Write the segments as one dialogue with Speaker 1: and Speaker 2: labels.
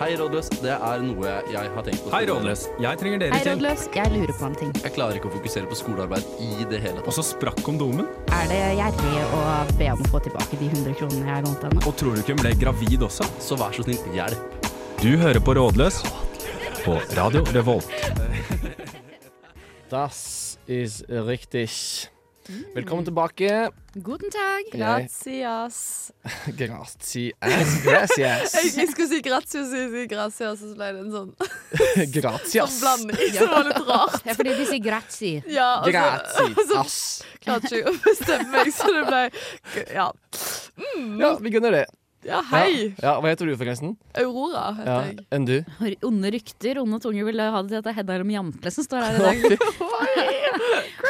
Speaker 1: Hei, rådløs. Det er noe jeg har tenkt på.
Speaker 2: Hei, Rådløs. Jeg trenger dere
Speaker 3: Hei,
Speaker 2: til.
Speaker 3: rådløs. Jeg lurer på en ting.
Speaker 1: Jeg klarer ikke å fokusere på skolearbeid i det hele
Speaker 2: Og
Speaker 1: tatt.
Speaker 2: så sprakk kondomen.
Speaker 3: Er det gjerrig å be om å få tilbake de 100 kronene jeg lånte henne?
Speaker 2: Og tror du ikke hun ble gravid også?
Speaker 1: Så vær så snill, hjelp.
Speaker 2: Du hører på Rådløs på Radio Revolt.
Speaker 4: Das is riktig.
Speaker 5: Mm.
Speaker 4: Velkommen tilbake.
Speaker 3: Guten tag.
Speaker 6: Gratias.
Speaker 4: Gracias. Gracias.
Speaker 6: Jeg, jeg skulle si gratias, jeg si gratias, og så ble det en sånn
Speaker 4: Gracias.
Speaker 6: blanding som var litt rar.
Speaker 3: Ja, fordi de sier grazie.
Speaker 6: Ja,
Speaker 5: altså.
Speaker 6: og så, og så
Speaker 4: Gracias.
Speaker 6: klarte jeg ikke å bestemme meg, så det ble Ja,
Speaker 4: Ja, vi gunner det.
Speaker 6: ja
Speaker 4: Ja.
Speaker 6: hei!
Speaker 4: Ja, hva heter du, forresten?
Speaker 6: Aurora heter
Speaker 4: Ja,
Speaker 6: jeg.
Speaker 4: Enn du?
Speaker 5: Onde rykter, onde tunger vil ha det til at det er Hedda Lom Jample som står her i dag.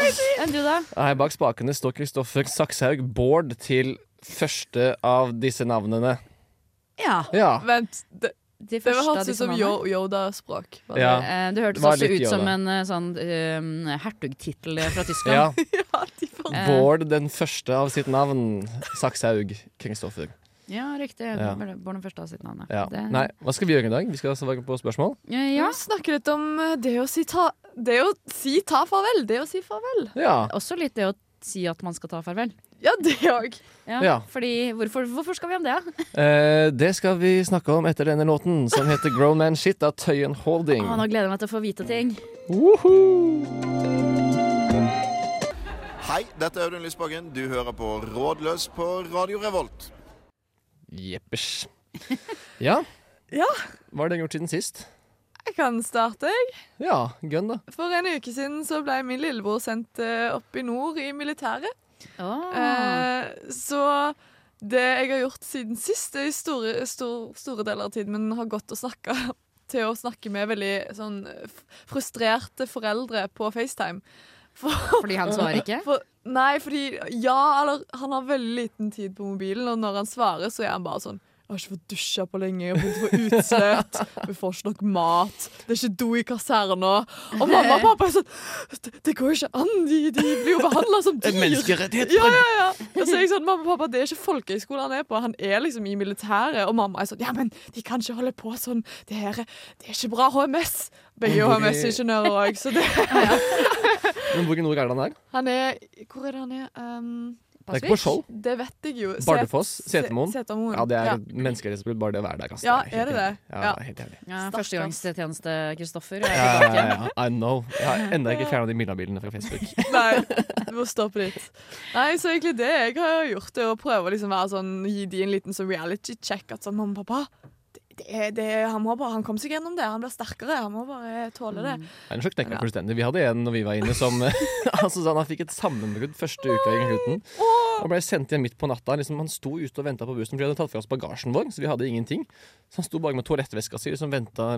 Speaker 5: Enn du, da?
Speaker 4: Ja, Her bak spakene står Kristoffer Sakshaug Bård til første av disse navnene.
Speaker 5: Ja.
Speaker 4: Ja.
Speaker 6: Vent, det,
Speaker 5: De
Speaker 6: det
Speaker 5: første av
Speaker 6: hørtes
Speaker 5: disse
Speaker 6: ut som
Speaker 5: navnene.
Speaker 6: Yo- Yoda-språk. var det?
Speaker 4: Ja.
Speaker 5: Eh, Det hørtes
Speaker 4: Var
Speaker 5: også
Speaker 4: litt
Speaker 5: ut som
Speaker 4: Yoda.
Speaker 5: en eh, sånn eh, hertugtittel fra Tyskland.
Speaker 4: ja.
Speaker 6: ja, de får
Speaker 5: Eh,
Speaker 4: Bård den første av sitt navn. Sakshaug Kristoffer.
Speaker 5: Ja, riktig.
Speaker 4: Ja.
Speaker 5: Bård den første av sitt navn.
Speaker 4: Ja.
Speaker 5: Det-
Speaker 4: Nei, hva skal vi gjøre i dag? Vi skal svare på spørsmål.
Speaker 5: Ja,
Speaker 6: ja.
Speaker 5: ja.
Speaker 6: Snakke litt om eh, det å si ta Det å si ta farvel. Det å si farvel.
Speaker 4: Ja.
Speaker 5: Også litt det å si at man skal ta farvel.
Speaker 6: Ja, det òg.
Speaker 5: Ja,
Speaker 4: Ja.
Speaker 5: Fordi, hvorfor, hvorfor skal vi om det? da?
Speaker 4: Eh, det skal vi snakke om etter denne låten, som heter Grown Man Shit av Tøyen Holding.
Speaker 5: Å, nå gleder jeg meg til å få vite ting.
Speaker 7: Hei, dette er Audun Lysbakken. Du hører på Rådløs på Radio Revolt.
Speaker 4: Jeppers. Ja.
Speaker 6: Ja.
Speaker 4: Hva har dere gjort siden sist?
Speaker 6: Jeg kan starte, jeg.
Speaker 4: Ja, gun, da.
Speaker 6: For en uke siden så ble min lillebror sendt eh, opp i nord i militæret.
Speaker 5: Å.
Speaker 6: Eh, så det jeg har gjort siden sist, det er i store, stor, store deler av tiden, men har gått og snakka til å snakke med veldig sånn f- frustrerte foreldre på FaceTime.
Speaker 5: Fordi han svarer ikke?
Speaker 6: For, nei, fordi ja, eller han har veldig liten tid på mobilen, og når han svarer, så er han bare sånn jeg har ikke fått dusja på lenge, jeg har begynt å få utslett. Vi får ikke nok mat. Det er ikke do i kaserna. Og mamma og pappa er sånn Det, det går jo ikke an! De, de blir jo behandla som dyr.
Speaker 4: menneskerettighet.
Speaker 6: Ja, ja, ja. Og så er jeg sånn, mamma og pappa, det er ikke folkehøyskole han er på, han er liksom i militæret. Og mamma er sånn, ja, men de kan ikke holde på sånn, det her, er- det er ikke bra HMS. Begge er HMS-ingeniører òg, så det
Speaker 4: Men hvor i nord er han her?
Speaker 6: Han er Hvor er det han er? Um,
Speaker 4: Det er ikke på Skjold.
Speaker 6: det vet jeg jo. Set-
Speaker 4: Bardufoss.
Speaker 6: Se-
Speaker 4: Setermoen.
Speaker 6: Setermoen.
Speaker 4: Ja, det er et menneskerettighetsbrudd bare det å være der. ass.
Speaker 6: Ja,
Speaker 4: helt
Speaker 6: er det
Speaker 4: jævlig.
Speaker 6: det?
Speaker 4: Ja,
Speaker 6: Ja.
Speaker 4: helt jævlig.
Speaker 5: Ja,
Speaker 6: Stakkars.
Speaker 5: Førstegangstjeneste, Kristoffer.
Speaker 4: Ja, ja, ja, ja. I know. Jeg har ennå ikke fjerna de Milla-bildene fra Facebook.
Speaker 6: Nei, du må stoppe litt. Nei, så egentlig det jeg har gjort, er å prøve å liksom være sånn, gi de en liten sånn reality check. At sånn, mamma og pappa, det, det, det, han, må bare, han kom seg gjennom det. Han blir sterkere. Han må bare tåle
Speaker 5: Mm.
Speaker 6: det.
Speaker 4: Det er en slags knekk meg fullstendig. Vi hadde en når vi var inne som altså, sånn, Han fikk et sammenbrudd første uka i Gluten. Og ble sendt hjem midt på natta. Liksom, han sto ute og venta på bussen, for de hadde tatt fra oss bagasjen vår. Så vi hadde ingenting. Så han sto bare med toalettveska si liksom, venta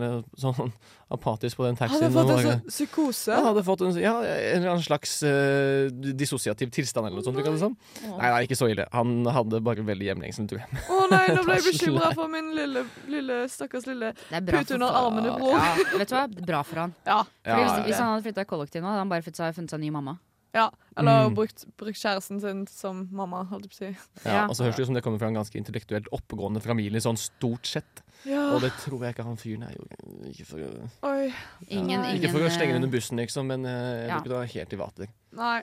Speaker 4: sånn apatisk på den
Speaker 6: Han
Speaker 4: taxien.
Speaker 6: har fått
Speaker 4: og
Speaker 6: en
Speaker 4: bare-
Speaker 6: sånn psykose.
Speaker 4: Han hadde fått en, ja, en eller annen slags eh, dissosiativ tilstand eller noe sånt. vi kaller det sånn. Nei, nei, ikke så ille. Han hadde bare veldig hjemlengsel, tror jeg.
Speaker 6: Å nei, nå ble jeg bekymra for min lille, lille stakkars lille
Speaker 5: Det er bra
Speaker 6: pute
Speaker 5: for
Speaker 6: under
Speaker 5: faen.
Speaker 6: armene, bror.
Speaker 5: Ja, vet du hva? Det er Bra for han.
Speaker 6: Ja.
Speaker 4: Ja,
Speaker 5: Fordi hvis, hvis
Speaker 4: ja.
Speaker 5: han hadde flytta kollektiv nå, hadde han bare fått seg- funnet seg en ny mamma.
Speaker 6: ja. Eller
Speaker 4: Mm.
Speaker 6: brukt, brukt kjæresten sin som mamma, holdt jeg på å si.
Speaker 4: Ja, og så høres det ut som det kommer fra en ganske intellektuelt oppegående familie, sånn stort sett.
Speaker 6: Ja.
Speaker 4: Og det tror jeg ikke han fyren er. jo- Ikke for, å-
Speaker 6: Oi.
Speaker 5: Ingen,
Speaker 6: Nei.
Speaker 5: ingen,
Speaker 4: ikke for å slenge
Speaker 5: eh,
Speaker 4: den under bussen, liksom, men eh, jeg
Speaker 5: Ja.
Speaker 4: tror ikke det var helt i vater.
Speaker 6: Nei.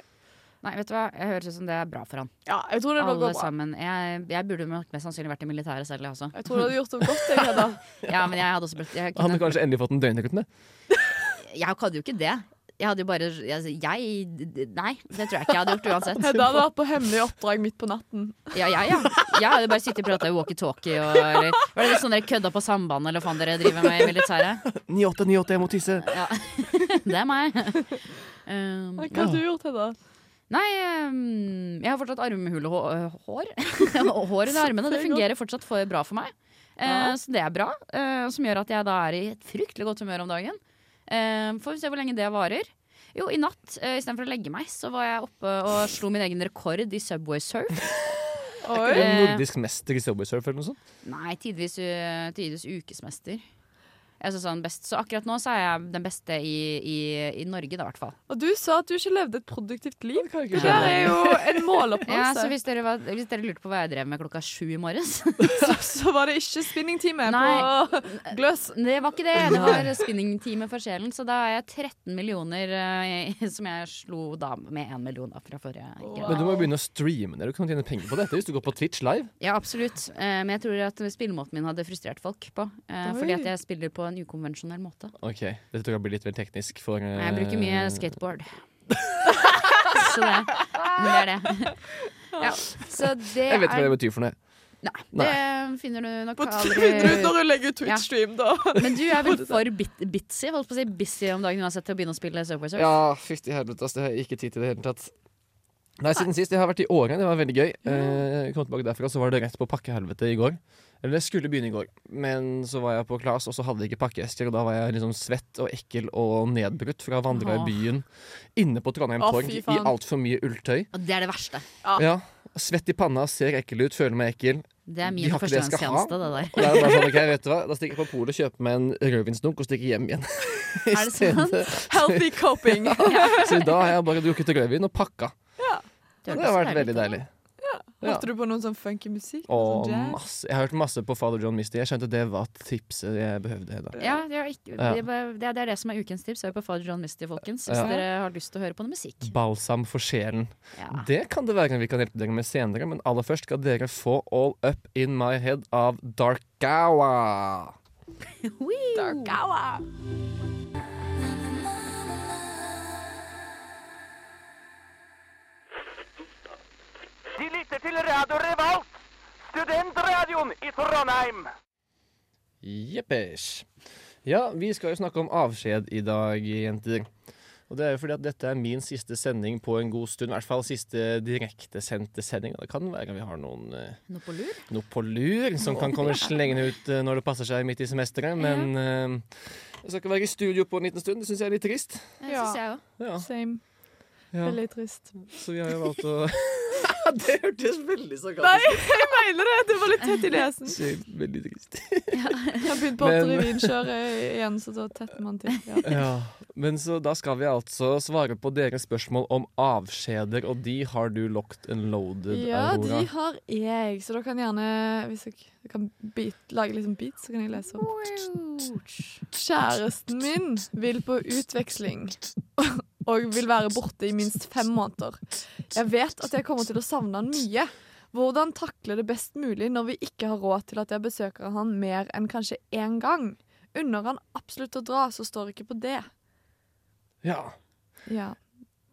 Speaker 5: Nei, vet du hva? Jeg høres ut som det er bra for han.
Speaker 6: Ja, jeg tror det nå
Speaker 5: Alle
Speaker 6: går bra.
Speaker 5: sammen. Jeg, jeg burde nok mest sannsynlig vært i militæret selv, jeg også.
Speaker 6: Jeg tror du hadde gjort det godt, jeg, Hedda.
Speaker 5: Ja, men jeg hadde også brukt jeg,
Speaker 4: Han
Speaker 5: kunne,
Speaker 4: hadde kanskje endelig fått en døgnrytme.
Speaker 5: jeg hadde jo ikke det. Jeg hadde jo bare jeg, jeg Nei, det tror jeg ikke jeg hadde gjort uansett.
Speaker 6: Hedda hadde vært på hemmelig oppdrag midt på natten.
Speaker 5: Ja, ja, ja. Jeg hadde bare sittet og prata i walkietalkie og eller, Var det litt sånn dere kødda på sambandet eller hva faen dere driver med i militæret?
Speaker 4: 98, 98, jeg må tisse!
Speaker 5: Ja. Det er meg. Um,
Speaker 6: Hva hadde du gjort, Hedda?
Speaker 5: nei, um, jeg har fortsatt armhulehår. Hår under armene. Det fungerer fortsatt for, bra for meg. Eh, så det er bra. eh, som gjør at jeg da er i et fryktelig godt humør om dagen. Eh, får vi se hvor lenge det varer. Jo, i natt, uh, istedenfor å legge meg, så var jeg oppe og slo min egen rekord i Subway Surf.
Speaker 6: Oi.
Speaker 4: En nordisk mester i Subway Surf eller noe sånt.
Speaker 5: Nei, tidvis, ø, tidvis eh, ukesmester. Jeg synes han er best. Så akkurat nå så er jeg den beste i, i, i Norge, da, i hvert fall.
Speaker 6: Og du sa at du ikke levde et produktivt liv.
Speaker 4: Det kan jeg
Speaker 6: Det
Speaker 4: ikke
Speaker 6: der
Speaker 4: skjønne.
Speaker 6: er jo en
Speaker 5: Ja, så
Speaker 6: måloppnåelse.
Speaker 5: hvis dere, var, hvis dere lurte på hva jeg drev med klokka sju i morges
Speaker 6: så, så var det ikke spinningtime
Speaker 5: Nei.
Speaker 6: på Gløs.
Speaker 5: Det var ikke det. Det var spinningtime for sjelen. Så da er jeg 13 millioner eh, i- som jeg slo da med 1 million da, fra forrige
Speaker 6: Wow.
Speaker 5: greie.
Speaker 4: Men du må jo begynne å streame det. Du kan tjene penger på dette hvis du går på Twitch live.
Speaker 5: Ja, absolutt. Eh, Men jeg tror at spillemåten min hadde frustrert folk på. eh,
Speaker 6: Oi.
Speaker 5: Fordi at jeg spiller på en ukonvensjonell måte.
Speaker 4: Ok, Dette tror jeg blir litt vel teknisk. For,
Speaker 6: Eh.
Speaker 4: eh,
Speaker 5: Nei, Jeg bruker mye skateboard. Så det, det er det. Ja, så det
Speaker 4: Jeg vet ikke
Speaker 5: er
Speaker 4: hva det betyr for noe.
Speaker 5: Nei, det eh, finner du nok
Speaker 6: På finner ut
Speaker 5: aldri
Speaker 6: når hun legger ut Twitch-stream, da.
Speaker 5: Men du er vel for bit bitsy? Holdt på å si busy om dagen uansett til å begynne å spille Subway Surf?
Speaker 4: Ja, fytti helvete, ass. Det har jeg ikke tid til i det hele tatt. Nei, siden sist. Jeg har vært i Åre. Det var veldig gøy. Eh, kom tilbake derfra, så var det rett på pakkehelvete i går. Eller jeg skulle begynne i går, men så var jeg på Klas, og så hadde jeg ikke pakkeesker. Og da var jeg liksom svett og ekkel og nedbrutt fra å vandre
Speaker 5: Åh.
Speaker 4: i byen inne på Trondheim
Speaker 6: Å,
Speaker 4: torg
Speaker 6: fy
Speaker 4: i
Speaker 6: faen.
Speaker 4: altfor mye ulltøy.
Speaker 5: Og det er det verste.
Speaker 4: Ja. Svett i panna, ser ekkel ut, føler meg ekkel.
Speaker 5: Det er
Speaker 4: De
Speaker 5: min
Speaker 4: har ikke det jeg skal
Speaker 5: førstegangstjeneste, det der.
Speaker 4: Og da er det bare sånn, ok, vet du hva? Da stikker jeg på polet og kjøper meg en rødvinsdunk og stikker hjem igjen. I
Speaker 5: Er det sant?
Speaker 4: stedet.
Speaker 6: Healthy coping.
Speaker 4: Så i dag har jeg bare drukket rødvin og pakka. Og
Speaker 5: Det
Speaker 4: det har vært veldig deilig. Ja.
Speaker 6: Hørte du på noen sånn funky musikk?
Speaker 4: Og
Speaker 6: sånn jazz?
Speaker 4: masse, jeg har hørt masse på Father John Misty. Jeg skjønte det var tipset jeg behøvde. Da.
Speaker 5: Ja, det er, ikke,
Speaker 4: Ja.
Speaker 5: det, er, det er det som er ukens tips. Hør på Father John Misty, folkens. Hvis
Speaker 4: Ja.
Speaker 5: dere har lyst til å høre på noe musikk.
Speaker 4: Balsam for sjelen.
Speaker 5: Ja.
Speaker 4: Det kan det være vi kan hjelpe dere med senere, men aller først skal dere få All Up In My Head av Darkawa.
Speaker 8: De lytter til Radio Revolt, studentradioen i Trondheim.
Speaker 4: Jeppers. Ja, vi skal jo snakke om avskjed i dag, jenter. Og det er jo fordi at dette er min siste sending på en god stund. I hvert fall siste direktesendte sending. Det kan være vi har noen eh,
Speaker 5: Noe på lur?
Speaker 4: noe på lur som kan komme slengende ut eh, når det passer seg midt i semesteret. Men eh, jeg skal ikke være i studio på en liten stund. Det syns jeg er litt trist.
Speaker 5: Det
Speaker 6: Ja.
Speaker 5: syns jeg òg.
Speaker 4: Ja,
Speaker 6: Same.
Speaker 4: ja.
Speaker 6: Veldig trist.
Speaker 4: Så vi har jo valgt å Det hørtes veldig
Speaker 6: Nei,
Speaker 4: sarkastisk
Speaker 6: jeg mener det! Det var litt tett i nesen.
Speaker 4: ut. Veldig trist.
Speaker 6: Jeg har begynt på
Speaker 4: Men-
Speaker 6: åtterevinkjøret igjen, så da tetter man til. Ja.
Speaker 4: Ja. Men så da skal vi altså svare på deres spørsmål om avskjeder, og de har du locked and loaded,
Speaker 6: ja,
Speaker 4: Aurora.
Speaker 6: de har jeg, så dere kan gjerne Hvis dere kan beat, lage litt sånn beat, så kan jeg lese opp. Kjæresten min vil på utveksling og vil være borte i minst fem måneder. Jeg vet at jeg kommer til å savne han mye. Hvordan takle det best mulig når vi ikke har råd til at jeg besøker han mer enn kanskje én gang? Unner han absolutt å dra, så står det ikke på det.
Speaker 4: Ja.
Speaker 6: Ja.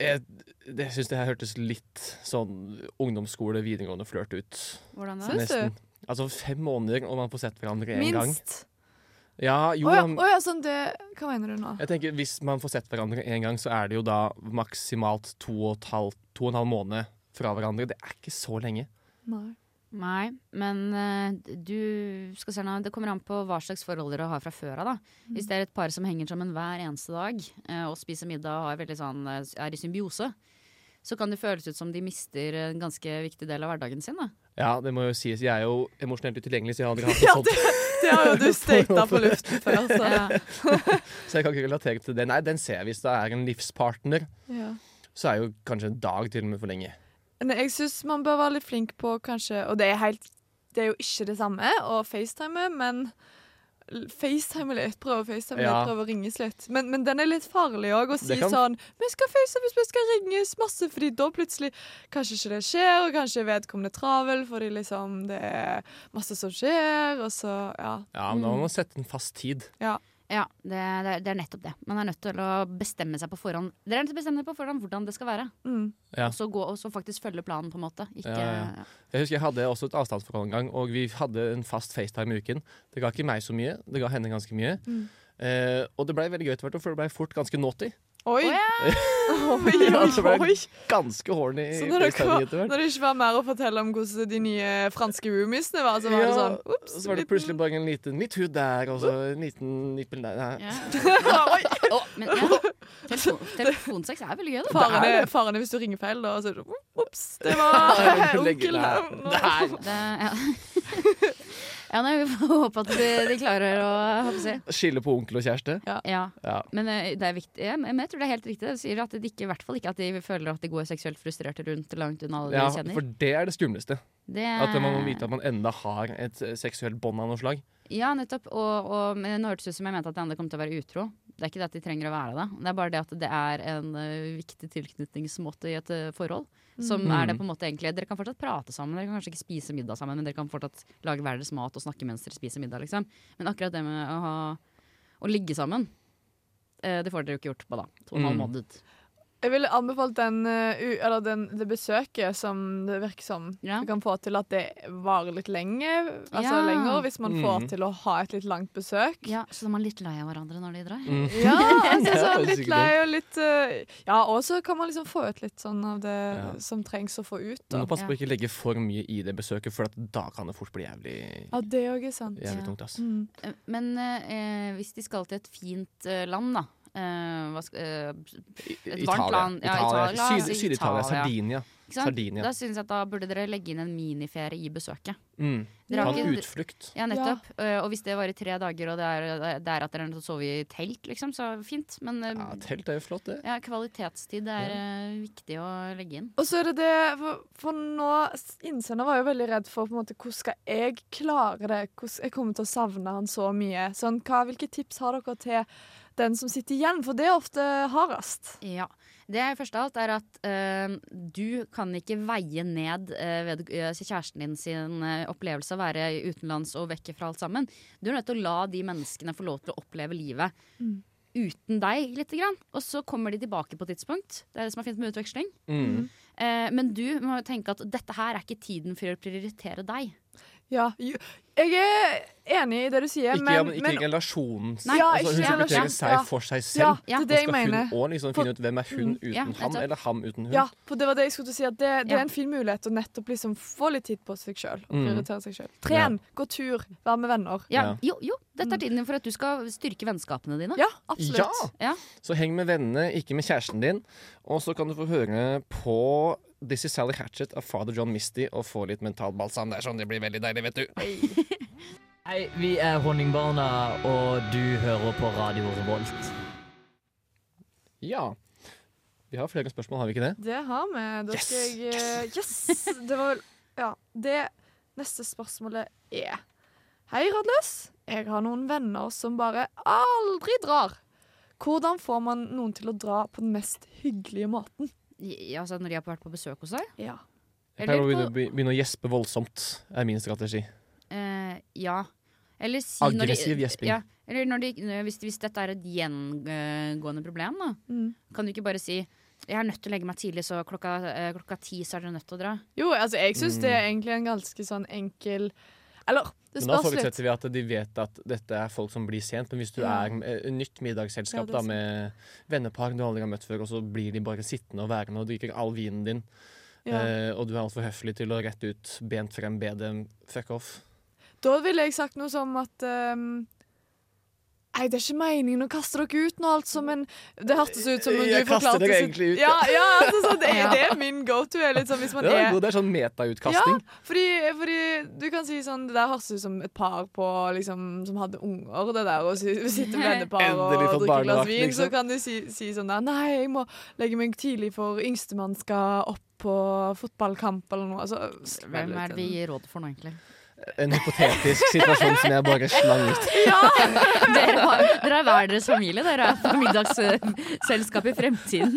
Speaker 4: Jeg, jeg syns det her hørtes litt sånn ungdomsskole, videregående flørt ut.
Speaker 5: Hvordan da?
Speaker 6: Syns du?
Speaker 4: Nesten. Altså fem måneder, og man får sett hverandre én gang.
Speaker 6: Minst.
Speaker 4: Ja, jo,
Speaker 6: Å ja,
Speaker 4: men-
Speaker 6: å ja, sånn det Hva mener du nå?
Speaker 4: Jeg tenker Hvis man får sett hverandre én gang, så er det jo da maksimalt to og, et halvt, to og en halv måned fra hverandre. Det er ikke så lenge.
Speaker 6: Nei.
Speaker 5: Nei, men eh, du skal se nå, det kommer an på hva slags forhold dere har fra før av. da. Hvis det er et par som henger sammen hver eneste dag eh, og spiser middag og er, veldig sånn, eh, er i symbiose, så kan det føles ut som de mister en ganske viktig del av hverdagen sin. da.
Speaker 4: Ja, det må jo sies. Jeg er jo emosjonelt utilgjengelig, så jeg har aldri hatt sånn noe sånt.
Speaker 6: Ja, det, det har jo du stata på luften altså. før, så
Speaker 5: Ja.
Speaker 4: Så jeg kan ikke relatere til det. Nei, den ser jeg. Hvis det er en livspartner,
Speaker 6: ja.
Speaker 4: så er jo kanskje en dag til og med for lenge.
Speaker 6: Nei, jeg syns man bør være litt flink på kanskje Og det er, helt, det er jo ikke det samme å facetime, men l- FaceTime litt, prøve å facetime litt,
Speaker 4: Ja.
Speaker 6: prøve å ringes litt. Men, men den er litt farlig òg, å si
Speaker 4: Det kan-
Speaker 6: sånn Vi skal facetime, vi skal ringes masse, fordi da plutselig kanskje ikke det skjer, og kanskje vedkommende er travel fordi liksom det er masse som skjer, og så Ja.
Speaker 4: Ja, men da må man sette en fast tid.
Speaker 5: Ja, det, det, er, det er nettopp det. Man er nødt til å bestemme seg på forhånd Dere er nødt til å bestemme dere på forhånd hvordan det skal være.
Speaker 6: Mm.
Speaker 4: Ja.
Speaker 5: Og så gå- og så faktisk følge planen, på en måte.
Speaker 4: Ja,
Speaker 5: Ikke,
Speaker 4: ja, ja. Jeg husker jeg hadde også et avstandsforhold en gang, og vi hadde en fast FaceTime i uken. Det ga ikke meg så mye, det ga henne ganske mye.
Speaker 6: Mm.
Speaker 4: Eh, og det blei veldig gøy etter hvert, for det blei fort ganske naughty.
Speaker 6: Oi!
Speaker 5: Å,
Speaker 6: oi,
Speaker 4: Ja, så ble
Speaker 6: oi,
Speaker 4: det
Speaker 6: oi.
Speaker 4: Ganske horny
Speaker 6: Så når det,
Speaker 4: FaceTime etter hvert.
Speaker 6: når det ikke var mer å fortelle om hvordan de nye franske roomiesene var, så var det sånn ups,
Speaker 4: så var det
Speaker 6: liten-
Speaker 4: plutselig bare en liten litt hud der, og så en liten nippel der. Nei.
Speaker 5: ja.
Speaker 6: Oi,
Speaker 5: Å, men ja. Telefon, telefonsex er veldig gøy, da.
Speaker 6: faren, er, faren er hvis du ringer feil, da, og så er det ups, det var
Speaker 4: Nei, jeg må legge-
Speaker 6: onkel.
Speaker 4: Nei.
Speaker 6: Nei.
Speaker 5: Det, ja. Ja, nei, Vi får håpe at de, de klarer å hva skal jeg si.
Speaker 4: Skille på onkel og kjæreste.
Speaker 5: Ja.
Speaker 4: Ja.
Speaker 5: Men eh, det er viktig. Ja, men jeg tror det er helt riktig. Det sier at de ikke, i hvert fall ikke at de føler at de går seksuelt frustrerte rundt langt unna alle
Speaker 4: Ja,
Speaker 5: de kjenner.
Speaker 4: for det er det skumleste.
Speaker 5: Det,
Speaker 4: At man
Speaker 6: Eh.
Speaker 4: må vite at man enda har et eh, seksuelt bånd av noe slag.
Speaker 5: Ja, nettopp. Og, og, men nå hørtes det ut som jeg mente at de andre kom til å være utro. Det er ikke det at de trenger å være det. Det er bare det at det er en eh, viktig tilknytningsmåte i et eh, forhold. Som er det på en måte egentlig Dere kan fortsatt prate sammen, dere kan kanskje ikke spise middag sammen, men dere kan fortsatt lage hver deres mat og snakke mens dere spiser middag. Liksom. Men akkurat det med å, ha, å ligge sammen, eh, det får dere jo ikke gjort på da. To og en halv
Speaker 4: Mm.
Speaker 5: måned ut.
Speaker 6: Jeg ville anbefalt den, eh, u- eller den, det besøket som det virker som
Speaker 5: Ja.
Speaker 6: du kan få til at det varer litt lenge. Altså
Speaker 5: Ja.
Speaker 6: lenger, hvis man
Speaker 4: Mm.
Speaker 6: får til å ha et litt langt besøk.
Speaker 5: Ja, så de er litt lei av hverandre når de drar.
Speaker 4: Mm.
Speaker 6: Ja, altså
Speaker 4: Ja,
Speaker 6: sånn
Speaker 4: det er
Speaker 6: litt
Speaker 4: sikkert
Speaker 6: lei og litt eh, Ja, og så kan man liksom få ut litt sånn av det
Speaker 4: Ja. Mm.
Speaker 6: som trengs å få ut.
Speaker 4: Men
Speaker 6: Da.
Speaker 4: nå pass på
Speaker 5: Ja.
Speaker 4: å ikke legge for mye i det besøket, for at da kan det fort bli jævlig,
Speaker 6: Ja, det òg er sant.
Speaker 5: Ja.
Speaker 4: jævlig tungt. ass.
Speaker 6: Mm.
Speaker 5: Eh, Men eh, hvis de skal til et fint eh, land, da. eh, hva skal, eh, Et varmt land. Ja,
Speaker 4: Italia.
Speaker 5: Italia,
Speaker 4: Syd-
Speaker 5: altså
Speaker 4: Syd-Italia.
Speaker 5: Italia.
Speaker 4: Sardinia.
Speaker 5: Ikke sant?
Speaker 4: Sardinia.
Speaker 5: Da synes jeg at da burde dere legge inn en miniferie i besøket.
Speaker 4: Mm.
Speaker 5: Dere har
Speaker 4: Ta en
Speaker 5: ikke-
Speaker 4: utflukt.
Speaker 5: Ja, nettopp. Eh, og hvis det var i tre dager, og det er, det er at dere er nødt til å sove i telt, liksom, så fint. Men eh,
Speaker 4: Ja, telt er jo flott, det.
Speaker 5: ja, kvalitetstid er eh, viktig å legge inn.
Speaker 6: Og så er det det For, for nå Innsender var jo veldig redd for på en måte, hvordan skal jeg klare det. Hvordan, jeg kommer til å savne han så mye. Sånn, hva, hvilke tips har dere til den som sitter igjen? For det er ofte hardest.
Speaker 5: Ja. Det første av alt er at eh, du kan ikke veie ned eh, ved, eh, kjæresten din sin eh, opplevelse av å være utenlands og vekke fra alt sammen. Du er nødt til å la de menneskene få lov til å oppleve livet uten deg, lite grann. Og så kommer de tilbake på et tidspunkt. Det er det som er fint med utveksling.
Speaker 4: Mm.
Speaker 5: Eh, men du må jo tenke at dette her er ikke tiden for å prioritere deg.
Speaker 6: Ja, jo, jeg er enig i det du sier,
Speaker 4: Ikke, ja,
Speaker 6: men,
Speaker 4: men, ikke
Speaker 6: men
Speaker 4: ikke relasjonen.
Speaker 6: Nei,
Speaker 4: altså,
Speaker 6: ikke
Speaker 4: hun skal
Speaker 6: relasjon.
Speaker 4: prioritere
Speaker 6: Ja.
Speaker 4: seg for seg
Speaker 6: ja,
Speaker 4: selv.
Speaker 6: det
Speaker 5: Ja.
Speaker 6: er det jeg
Speaker 4: skal
Speaker 6: mener.
Speaker 4: hun òg liksom finne ut hvem er hun uten
Speaker 5: Ja,
Speaker 4: ham,
Speaker 5: nettopp.
Speaker 4: eller ham uten hun.
Speaker 6: Ja, for det var det jeg skulle til å si. At det, det
Speaker 5: Ja.
Speaker 6: er en fin mulighet å nettopp liksom få litt tid på seg sjøl. Og
Speaker 4: Mm.
Speaker 6: prioritere seg sjøl. Tren, gå tur, vær med venner.
Speaker 5: Ja, Jo, jo, dette er tiden din for at du skal styrke vennskapene dine.
Speaker 4: Ja!
Speaker 6: Ja, absolutt.
Speaker 5: Ja.
Speaker 4: Så heng med vennene, ikke med kjæresten din. Og så kan du få høre på This is Sally Hatchet av Father John Misty og få litt mentalbalsam. Det er sånn, det blir veldig deilig, vet du.
Speaker 9: Hei, vi er Honningbarna, og du hører på Radio Revolt.
Speaker 4: Ja. Vi har flere spørsmål, har vi ikke det?
Speaker 6: Det har vi. Da skal
Speaker 4: Yes!
Speaker 6: jeg eh, Yes! Det var vel Ja. Det neste spørsmålet er Hei, Radløs. Jeg har noen venner som bare aldri drar. Hvordan får man noen til å dra på den mest hyggelige måten?
Speaker 5: I- altså når de har vært på besøk hos deg.
Speaker 6: Ja.
Speaker 4: Jeg pleier
Speaker 5: Eller
Speaker 4: å
Speaker 5: på-
Speaker 4: begynne- begynne å gjespe voldsomt, er min strategi.
Speaker 5: Eh, ja. Eller si
Speaker 4: Aggressiv
Speaker 5: når de,
Speaker 4: gjesping.
Speaker 5: Ja, eller når de, hvis, hvis dette er et gjengående problem, da,
Speaker 6: Mm.
Speaker 5: kan du ikke bare si jeg er nødt til å legge meg tidlig, så klokka, eh, klokka ti så er dere nødt til å dra.
Speaker 6: Jo, altså, jeg syns det er egentlig en ganske sånn enkel Eller, det
Speaker 4: Mm. Men da
Speaker 6: spørs litt.
Speaker 4: forutsetter vi at de vet at dette er folk som blir sent. Men hvis du
Speaker 6: Ja.
Speaker 4: er eh, nytt middagsselskap
Speaker 6: Ja, det er
Speaker 4: da, med vennepar du aldri har møtt før, og så blir de bare sittende og værende og drikker all vinen din,
Speaker 6: Ja.
Speaker 4: eh, og du er altfor høflig til å rette ut bent frem, be dem fuck off.
Speaker 6: Da ville jeg sagt noe som at ehm, Nei, det er ikke meningen å kaste dere ut nå, altså, men Det hørtes ut som om du
Speaker 4: Jeg kaster
Speaker 6: forklarte
Speaker 4: dere
Speaker 6: sitt-
Speaker 4: egentlig ut,
Speaker 6: Ja,
Speaker 4: ja.
Speaker 6: ja altså, sånn, det, det er min go to. Er litt sånn, hvis man
Speaker 4: Det er,
Speaker 6: er
Speaker 4: god, det er sånn metautkasting.
Speaker 6: fordi, fordi du kan si sånn Det der høres ut som et par på, liksom, som hadde unger, det der, og si- sitter vennepar og
Speaker 4: Endelig fått
Speaker 6: drikker et glass
Speaker 4: barnevakt,
Speaker 6: vin.
Speaker 4: liksom.
Speaker 6: Så kan du si, si sånn der Nei, jeg må legge meg tidlig, for yngstemann skal opp på fotballkamp eller noe. Altså,
Speaker 5: Hvem er det vi gir råd for nå, egentlig?
Speaker 4: En hypotetisk situasjon som jeg bare slang ut.
Speaker 5: Dere, har, dere er hver deres familie. Dere er på middagsselskap i fremtiden.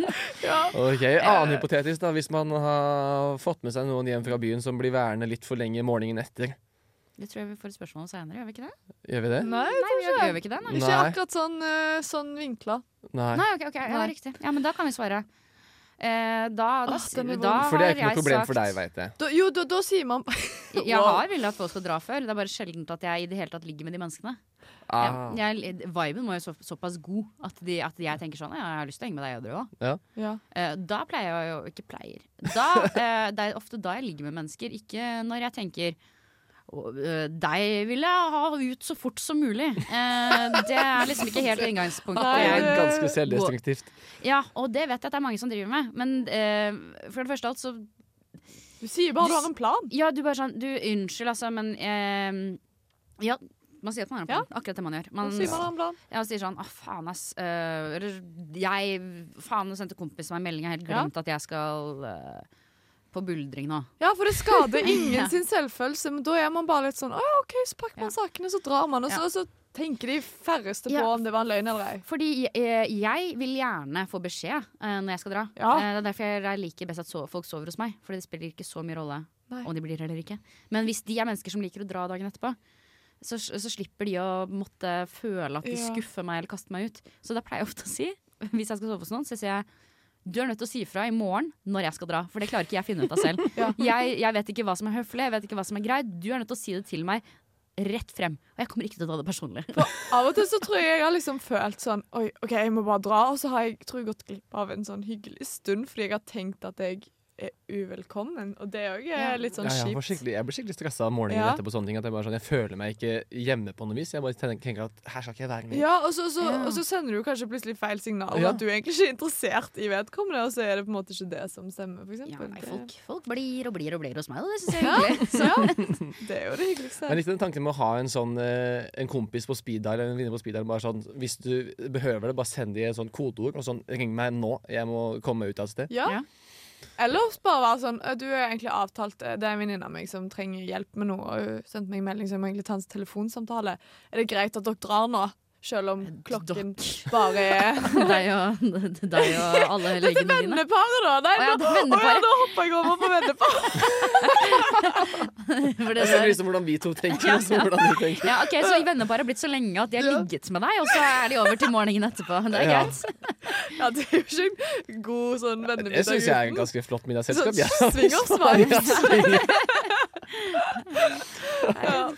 Speaker 4: Ok, Annen hypotetisk, da. Hvis man har fått med seg noen hjem fra byen som blir værende litt for lenge morgenen etter.
Speaker 5: Det tror jeg vi får et spørsmål om senere, gjør vi ikke det?
Speaker 4: Gjør vi det?
Speaker 6: Nei,
Speaker 5: Nei, vi gjør, gjør vi ikke det? Nei,
Speaker 6: ikke
Speaker 4: Nei.
Speaker 6: akkurat sånn, eh, sånn vinkla.
Speaker 4: Nei.
Speaker 5: nei ok, ok, ja, riktig. Ja, men da kan vi svare. Eh, da, da,
Speaker 6: Åh, den er
Speaker 5: da
Speaker 4: For
Speaker 6: vond.
Speaker 4: det
Speaker 5: har
Speaker 4: er ikke
Speaker 5: jeg
Speaker 4: noe problem
Speaker 5: sagt-
Speaker 4: for deg, veit jeg.
Speaker 6: Da, jo, da, da sier man
Speaker 5: Jeg har villet at folk skal dra før. Det er bare sjelden at jeg i det hele tatt ligger med de menneskene.
Speaker 4: Ah.
Speaker 5: Ja, jeg, viben må jo så, såpass god at, de, at jeg tenker sånn Ja, jeg har lyst til å henge med deg og dra.
Speaker 6: ja.
Speaker 5: Eh, da pleier jeg jo ikke pleier. Da, eh, det er ofte da jeg ligger med mennesker, ikke når jeg tenker «Å, eh, deg vil jeg ha ut så fort som mulig. Eh, det er liksom ikke helt inngangspunktet.
Speaker 4: Det
Speaker 6: Nei,
Speaker 4: er
Speaker 5: Jeg,
Speaker 4: ganske selvdestruktivt.
Speaker 5: ja, og det vet jeg at det er mange som driver med. Men eh, for det første alt så
Speaker 6: Du sier bare du har en plan.
Speaker 5: Ja, du bare sånn Du, unnskyld, altså, men eh, Ja, man sier at man har en plan. Akkurat det man gjør. Man,
Speaker 6: Sier man har en plan?
Speaker 5: ja, og sier sånn Å, faen, ass. eh, Eller jeg Faen, nå sendte kompisen meg en melding. Jeg har helt
Speaker 6: Ja.
Speaker 5: glemt at jeg skal eh, på buldring nå.
Speaker 6: Ja, for det skader
Speaker 5: Ja.
Speaker 6: ingen sin selvfølelse, men da er man bare litt sånn Å ja, OK, så pakker man sakene, så drar man, og så,
Speaker 5: Ja.
Speaker 6: og så tenker de færreste på
Speaker 5: Ja.
Speaker 6: om det var en løgn eller ei.
Speaker 5: Fordi jeg, jeg vil gjerne få beskjed eh, når jeg skal dra.
Speaker 6: Ja.
Speaker 5: Eh, det er derfor jeg liker best at so folk sover hos meg. Fordi det spiller ikke så mye rolle
Speaker 6: Nei.
Speaker 5: om de blir eller ikke. Men hvis de er mennesker som liker å dra dagen etterpå, så, så slipper de å måtte føle at de
Speaker 6: Ja.
Speaker 5: skuffer meg eller kaster meg ut. Så da pleier jeg ofte å si, hvis jeg skal sove hos noen, så sier jeg du er nødt til å si ifra i morgen når jeg skal dra, for det klarer ikke jeg å finne ut av selv.
Speaker 6: Ja.
Speaker 5: jeg, jeg vet ikke hva som er høflig, jeg vet ikke hva som er greit. Du er nødt til å si det til meg rett frem. Og jeg kommer ikke til å ta det personlig.
Speaker 6: Av og til så tror jeg jeg har liksom følt sånn Oi, OK, jeg må bare dra. Og så har jeg tror jeg gått glipp av en sånn hyggelig stund fordi jeg har tenkt at jeg er uvelkommen. Og det òg er
Speaker 5: Ja.
Speaker 6: litt sånn
Speaker 4: Ja, jeg, var
Speaker 6: kjipt.
Speaker 4: skikkelig, jeg blir skikkelig stressa om morgenen
Speaker 6: Ja.
Speaker 4: etterpå. sånne ting At Jeg bare sånn, jeg føler meg ikke hjemme på noe vis. Jeg bare tenker- tenker at her skal ikke jeg være med.
Speaker 6: Ja, og så, så,
Speaker 5: Ja.
Speaker 6: og så sender du kanskje plutselig feil signal, og
Speaker 4: Ja.
Speaker 6: at du er egentlig ikke er interessert i vedkommende, og så er det på en måte ikke det som stemmer, for
Speaker 5: Ja,
Speaker 6: eksempel.
Speaker 5: nei,
Speaker 6: Det-
Speaker 5: folk, folk blir og blir og blir hos meg, og det syns jeg er hyggelig. Så,
Speaker 6: Det er jo det hyggeligste.
Speaker 4: Men jeg likte den tanken med å ha en sånn eh, En kompis på speed dial eller en venninne på speed dial. Bare sånn, hvis du behøver det, bare send de et sånn kodeord. Og sånn, ring meg nå, jeg må komme meg ut av et sted.
Speaker 6: Ja.
Speaker 5: Ja.
Speaker 6: Eller bare være sånn «Ø, Du er egentlig avtalt ø, Det er en venninne av meg som trenger hjelp med noe. Og hun sendte meg en melding som egentlig ta en telefonsamtale. Er det greit at dere drar nå? Selv
Speaker 5: Eh,
Speaker 6: om klokken bare er
Speaker 5: deg, og, deg og alle legene dine.
Speaker 6: Venneparet, da! Nei,
Speaker 5: Å ja,
Speaker 6: nå, å ja,
Speaker 5: venneparet.
Speaker 6: nå hoppa jeg over på venneparet.
Speaker 5: For
Speaker 4: Og
Speaker 5: det
Speaker 4: så er det
Speaker 5: der-
Speaker 4: liksom hvordan vi to tenker. Og så hvordan du tenker.
Speaker 5: Ja, ok, Så venneparet har blitt så lenge at de har ligget med deg, og så er de over til morgenen etterpå. Det er
Speaker 4: Ja.
Speaker 5: greit.
Speaker 6: Ja, det er jo ikke en god sånn
Speaker 4: Jeg
Speaker 6: vennemiddag
Speaker 4: syns jeg er en
Speaker 6: uten.
Speaker 4: ganske flott middagsselskap.
Speaker 6: Sånn
Speaker 4: Ja.
Speaker 6: swingersvibe.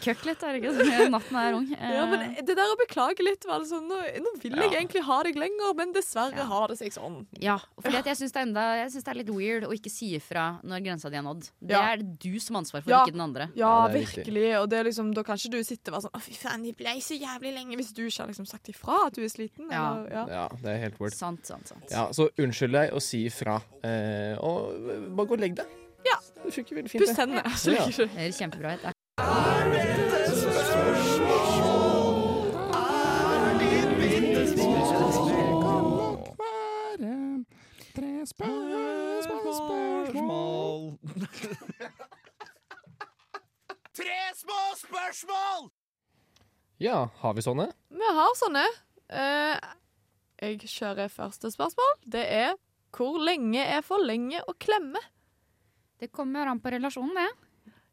Speaker 5: Køkk litt, er det ikke? Så Natten er ung. Eh,
Speaker 6: Ja, men det der å beklage litt var det sånn, nå, nå vil jeg egentlig ha deg lenger, men dessverre har det seg sånn.
Speaker 5: ja, fordi at jeg syns det, er enda- jeg synes det er litt weird å ikke si ifra når grensa di er nådd. Det
Speaker 6: Ja.
Speaker 5: er det du som har ansvar for,
Speaker 6: Ja.
Speaker 5: ikke den andre.
Speaker 6: Ja,
Speaker 4: Ja, det er riktig.
Speaker 6: virkelig. Og det er liksom, da kan ikke du sitte og være sånn 'Å, fy faen, de blei så jævlig lenge' hvis du ikke har liksom sagt ifra at du er sliten.
Speaker 5: Ja.
Speaker 6: Eller, ja.
Speaker 4: ja, det er helt word.
Speaker 5: Sant, sant, sant.
Speaker 4: Ja, så unnskyld deg og si ifra. Eh, og bare gå og legg deg.
Speaker 6: Ja.
Speaker 4: Det funker veldig fint.
Speaker 6: Puss
Speaker 4: det.
Speaker 6: hendene. Så ligger du
Speaker 5: Det er kjempebra. Det er
Speaker 2: Spørsmål.
Speaker 7: Tre små spørsmål!
Speaker 4: Ja, har vi sånne?
Speaker 6: Vi har sånne. Eh, jeg kjører første spørsmål. Det er hvor lenge er for lenge å klemme?
Speaker 5: Det kommer an på relasjonen, det.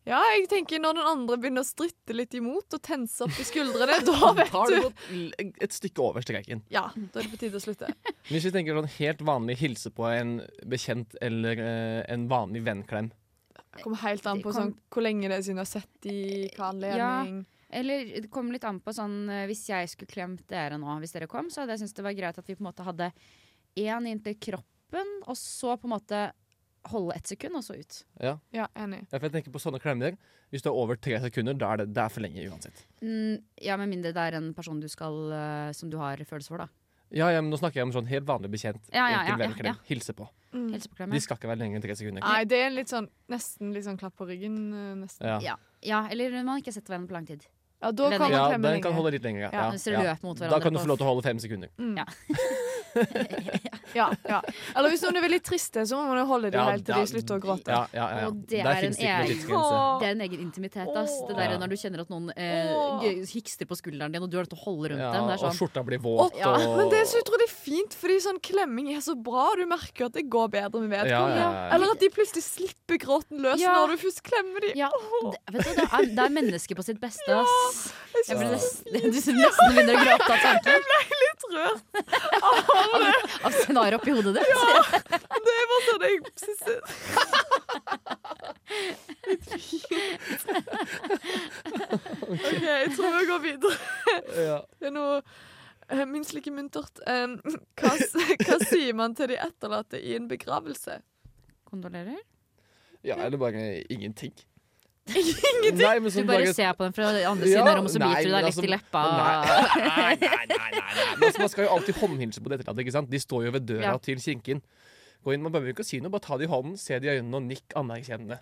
Speaker 6: Ja, jeg tenker når den andre begynner å stritte litt imot og tense opp i skuldrene, da vet
Speaker 4: Har
Speaker 6: du
Speaker 4: du gått l- et stykke over streken?
Speaker 6: Ja, da er det på tide å slutte.
Speaker 4: Hvis vi tenker sånn helt vanlig hilse på en bekjent eller eh, en vanlig vennklem.
Speaker 6: Det kommer helt an på
Speaker 5: Det kom- Eh,
Speaker 6: sånn, hvor lenge det er siden du har sett de, hva anledning
Speaker 5: Eller det kommer litt an på sånn eh, Hvis jeg skulle klemt dere nå, hvis dere kom, så hadde jeg syntes det var greit at vi på en måte hadde én inntil kroppen, og så på en måte holde ett sekund, og så ut.
Speaker 6: Ja, enig.
Speaker 4: Ja, for jeg tenker på sånne klemmer. Hvis du er over tre sekunder, da er det, det er for lenge uansett.
Speaker 5: Mm, ja, med mindre det er en person du skal, eh, som du har følelser for, da.
Speaker 4: Ja, ja, men Nå snakker jeg om sånn helt vanlig bekjent.
Speaker 5: Ja, ja,
Speaker 4: enkel
Speaker 5: ja, ja,
Speaker 4: vennklem.
Speaker 5: ja.
Speaker 4: Hilse på.
Speaker 6: Mm.
Speaker 4: De
Speaker 5: Helseproklemme.
Speaker 4: skal ikke være lenger enn tre sekunder.
Speaker 6: Nei, det er en litt sånn nesten litt sånn klapp på ryggen. eh, Nesten.
Speaker 4: Ja.
Speaker 5: Ja. ja, eller man har ikke sett hverandre på lang tid.
Speaker 6: Ja, da kan
Speaker 5: Venner.
Speaker 6: man
Speaker 4: Ja,
Speaker 6: klemme
Speaker 4: den kan
Speaker 6: lenge.
Speaker 4: holde litt lenger. Ja.
Speaker 6: Ja,
Speaker 5: Hvis dere
Speaker 4: Ja, ja.
Speaker 5: løp mot
Speaker 4: Da
Speaker 5: hverandre
Speaker 4: kan du
Speaker 5: på
Speaker 4: få lov til å holde fem sekunder.
Speaker 6: Ja, ja. Eller hvis noen er veldig triste, så må man jo holde dem
Speaker 4: Ja,
Speaker 6: helt til
Speaker 4: da-
Speaker 6: de slutter å gråte.
Speaker 4: Ja, ja, ja, ja.
Speaker 5: Og det
Speaker 4: Der
Speaker 5: er
Speaker 4: finnes det
Speaker 5: en
Speaker 4: ikke noe
Speaker 5: egen-
Speaker 4: tidsgrense.
Speaker 5: Det er en egen intimitet. Ass. Det der
Speaker 4: Ja.
Speaker 5: Når du kjenner at noen eh,
Speaker 6: Åh.
Speaker 5: gø- hikster på skulderen din, og du har lyst til å holde rundt
Speaker 4: Ja,
Speaker 5: dem. Det er
Speaker 4: og
Speaker 5: sånn.
Speaker 4: skjorta blir våt.
Speaker 5: Ja.
Speaker 4: Og...
Speaker 6: Men det er så utrolig fint, fordi sånn klemming er så bra. Du merker jo at det går bedre med
Speaker 4: Ja, ja,
Speaker 6: vedkommende.
Speaker 4: ja.
Speaker 6: Eller at de plutselig slipper gråten løs
Speaker 5: Ja.
Speaker 6: når du først klemmer dem.
Speaker 5: Ja, det, vet du, det, er, det er mennesket på sitt beste. Ass.
Speaker 6: Jeg
Speaker 5: Jeg
Speaker 6: synes
Speaker 5: ble nesten, du nesten begynner å gråte av tanken.
Speaker 6: litt rørt.
Speaker 5: Av scenarioet oppi hodet ditt.
Speaker 6: Det er bare sånn jeg synes OK, jeg tror vi går videre.
Speaker 4: Ja.
Speaker 6: Det er noe eh, minst like muntert. Um, hva, s- hva sier man til de etterlatte i en begravelse?
Speaker 5: Kondolerer.
Speaker 4: Ja, eller bare ingenting.
Speaker 6: Ingenting.
Speaker 4: Nei, men
Speaker 5: Du
Speaker 4: sånn
Speaker 5: bare ser på den fra andre siden
Speaker 4: Ja,
Speaker 5: av rommet, så
Speaker 4: nei,
Speaker 5: biter du
Speaker 4: men
Speaker 5: deg
Speaker 4: altså-
Speaker 5: litt i leppa.
Speaker 4: Nei, nei, nei, nei, nei, nei. Men altså, Man skal jo alltid håndhilse på dette, ikke sant? De står jo ved døra
Speaker 5: Ja.
Speaker 4: til kirken. Gå inn, Man behøver ikke å si noe, bare ta det i hånden, se det i øynene og nikk anerkjennende.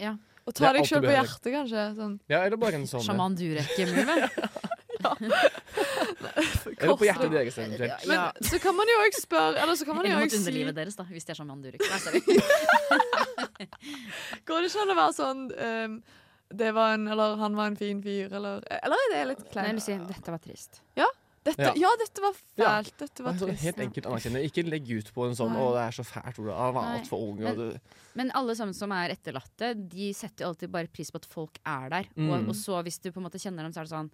Speaker 6: Og ta
Speaker 4: Det er
Speaker 6: deg
Speaker 4: alt
Speaker 6: sjøl
Speaker 4: du
Speaker 6: på
Speaker 4: behøver.
Speaker 6: hjertet, kanskje. Sånn.
Speaker 4: Sånn, Ja, eller bare en sånn
Speaker 5: Sjaman Durek-move.
Speaker 4: Eller på hjertet deres, eventuelt.
Speaker 6: Men
Speaker 5: Ja.
Speaker 6: så kan man jo òg spørre Eller så kan man jo
Speaker 5: Eller mot
Speaker 6: også si
Speaker 5: underlivet deres, da, hvis de er sjaman Durek. Nei, sorry.
Speaker 6: Går det ikke an å være sånn ehm, det var en, eller han var en fin fyr, eller Eller er det litt
Speaker 5: Nei,
Speaker 6: kleint?
Speaker 5: Lucy, dette var trist.
Speaker 6: Dette,
Speaker 4: Ja.
Speaker 6: ja. dette var
Speaker 4: Ja.
Speaker 6: fælt. Dette var
Speaker 4: Bare sånn
Speaker 6: trist.
Speaker 4: helt enkelt anerkjenne. Ikke legg ut på en sånn
Speaker 6: Nei.
Speaker 4: 'Å, det er så fælt', Ola. Han var
Speaker 5: Nei,
Speaker 4: altfor ung.
Speaker 5: men-
Speaker 4: Og du...
Speaker 5: Men alle sammen som er etterlatte, de setter jo alltid bare pris på at folk er der.
Speaker 4: Mm.
Speaker 5: Og, og så hvis du på en måte kjenner dem, så er det sånn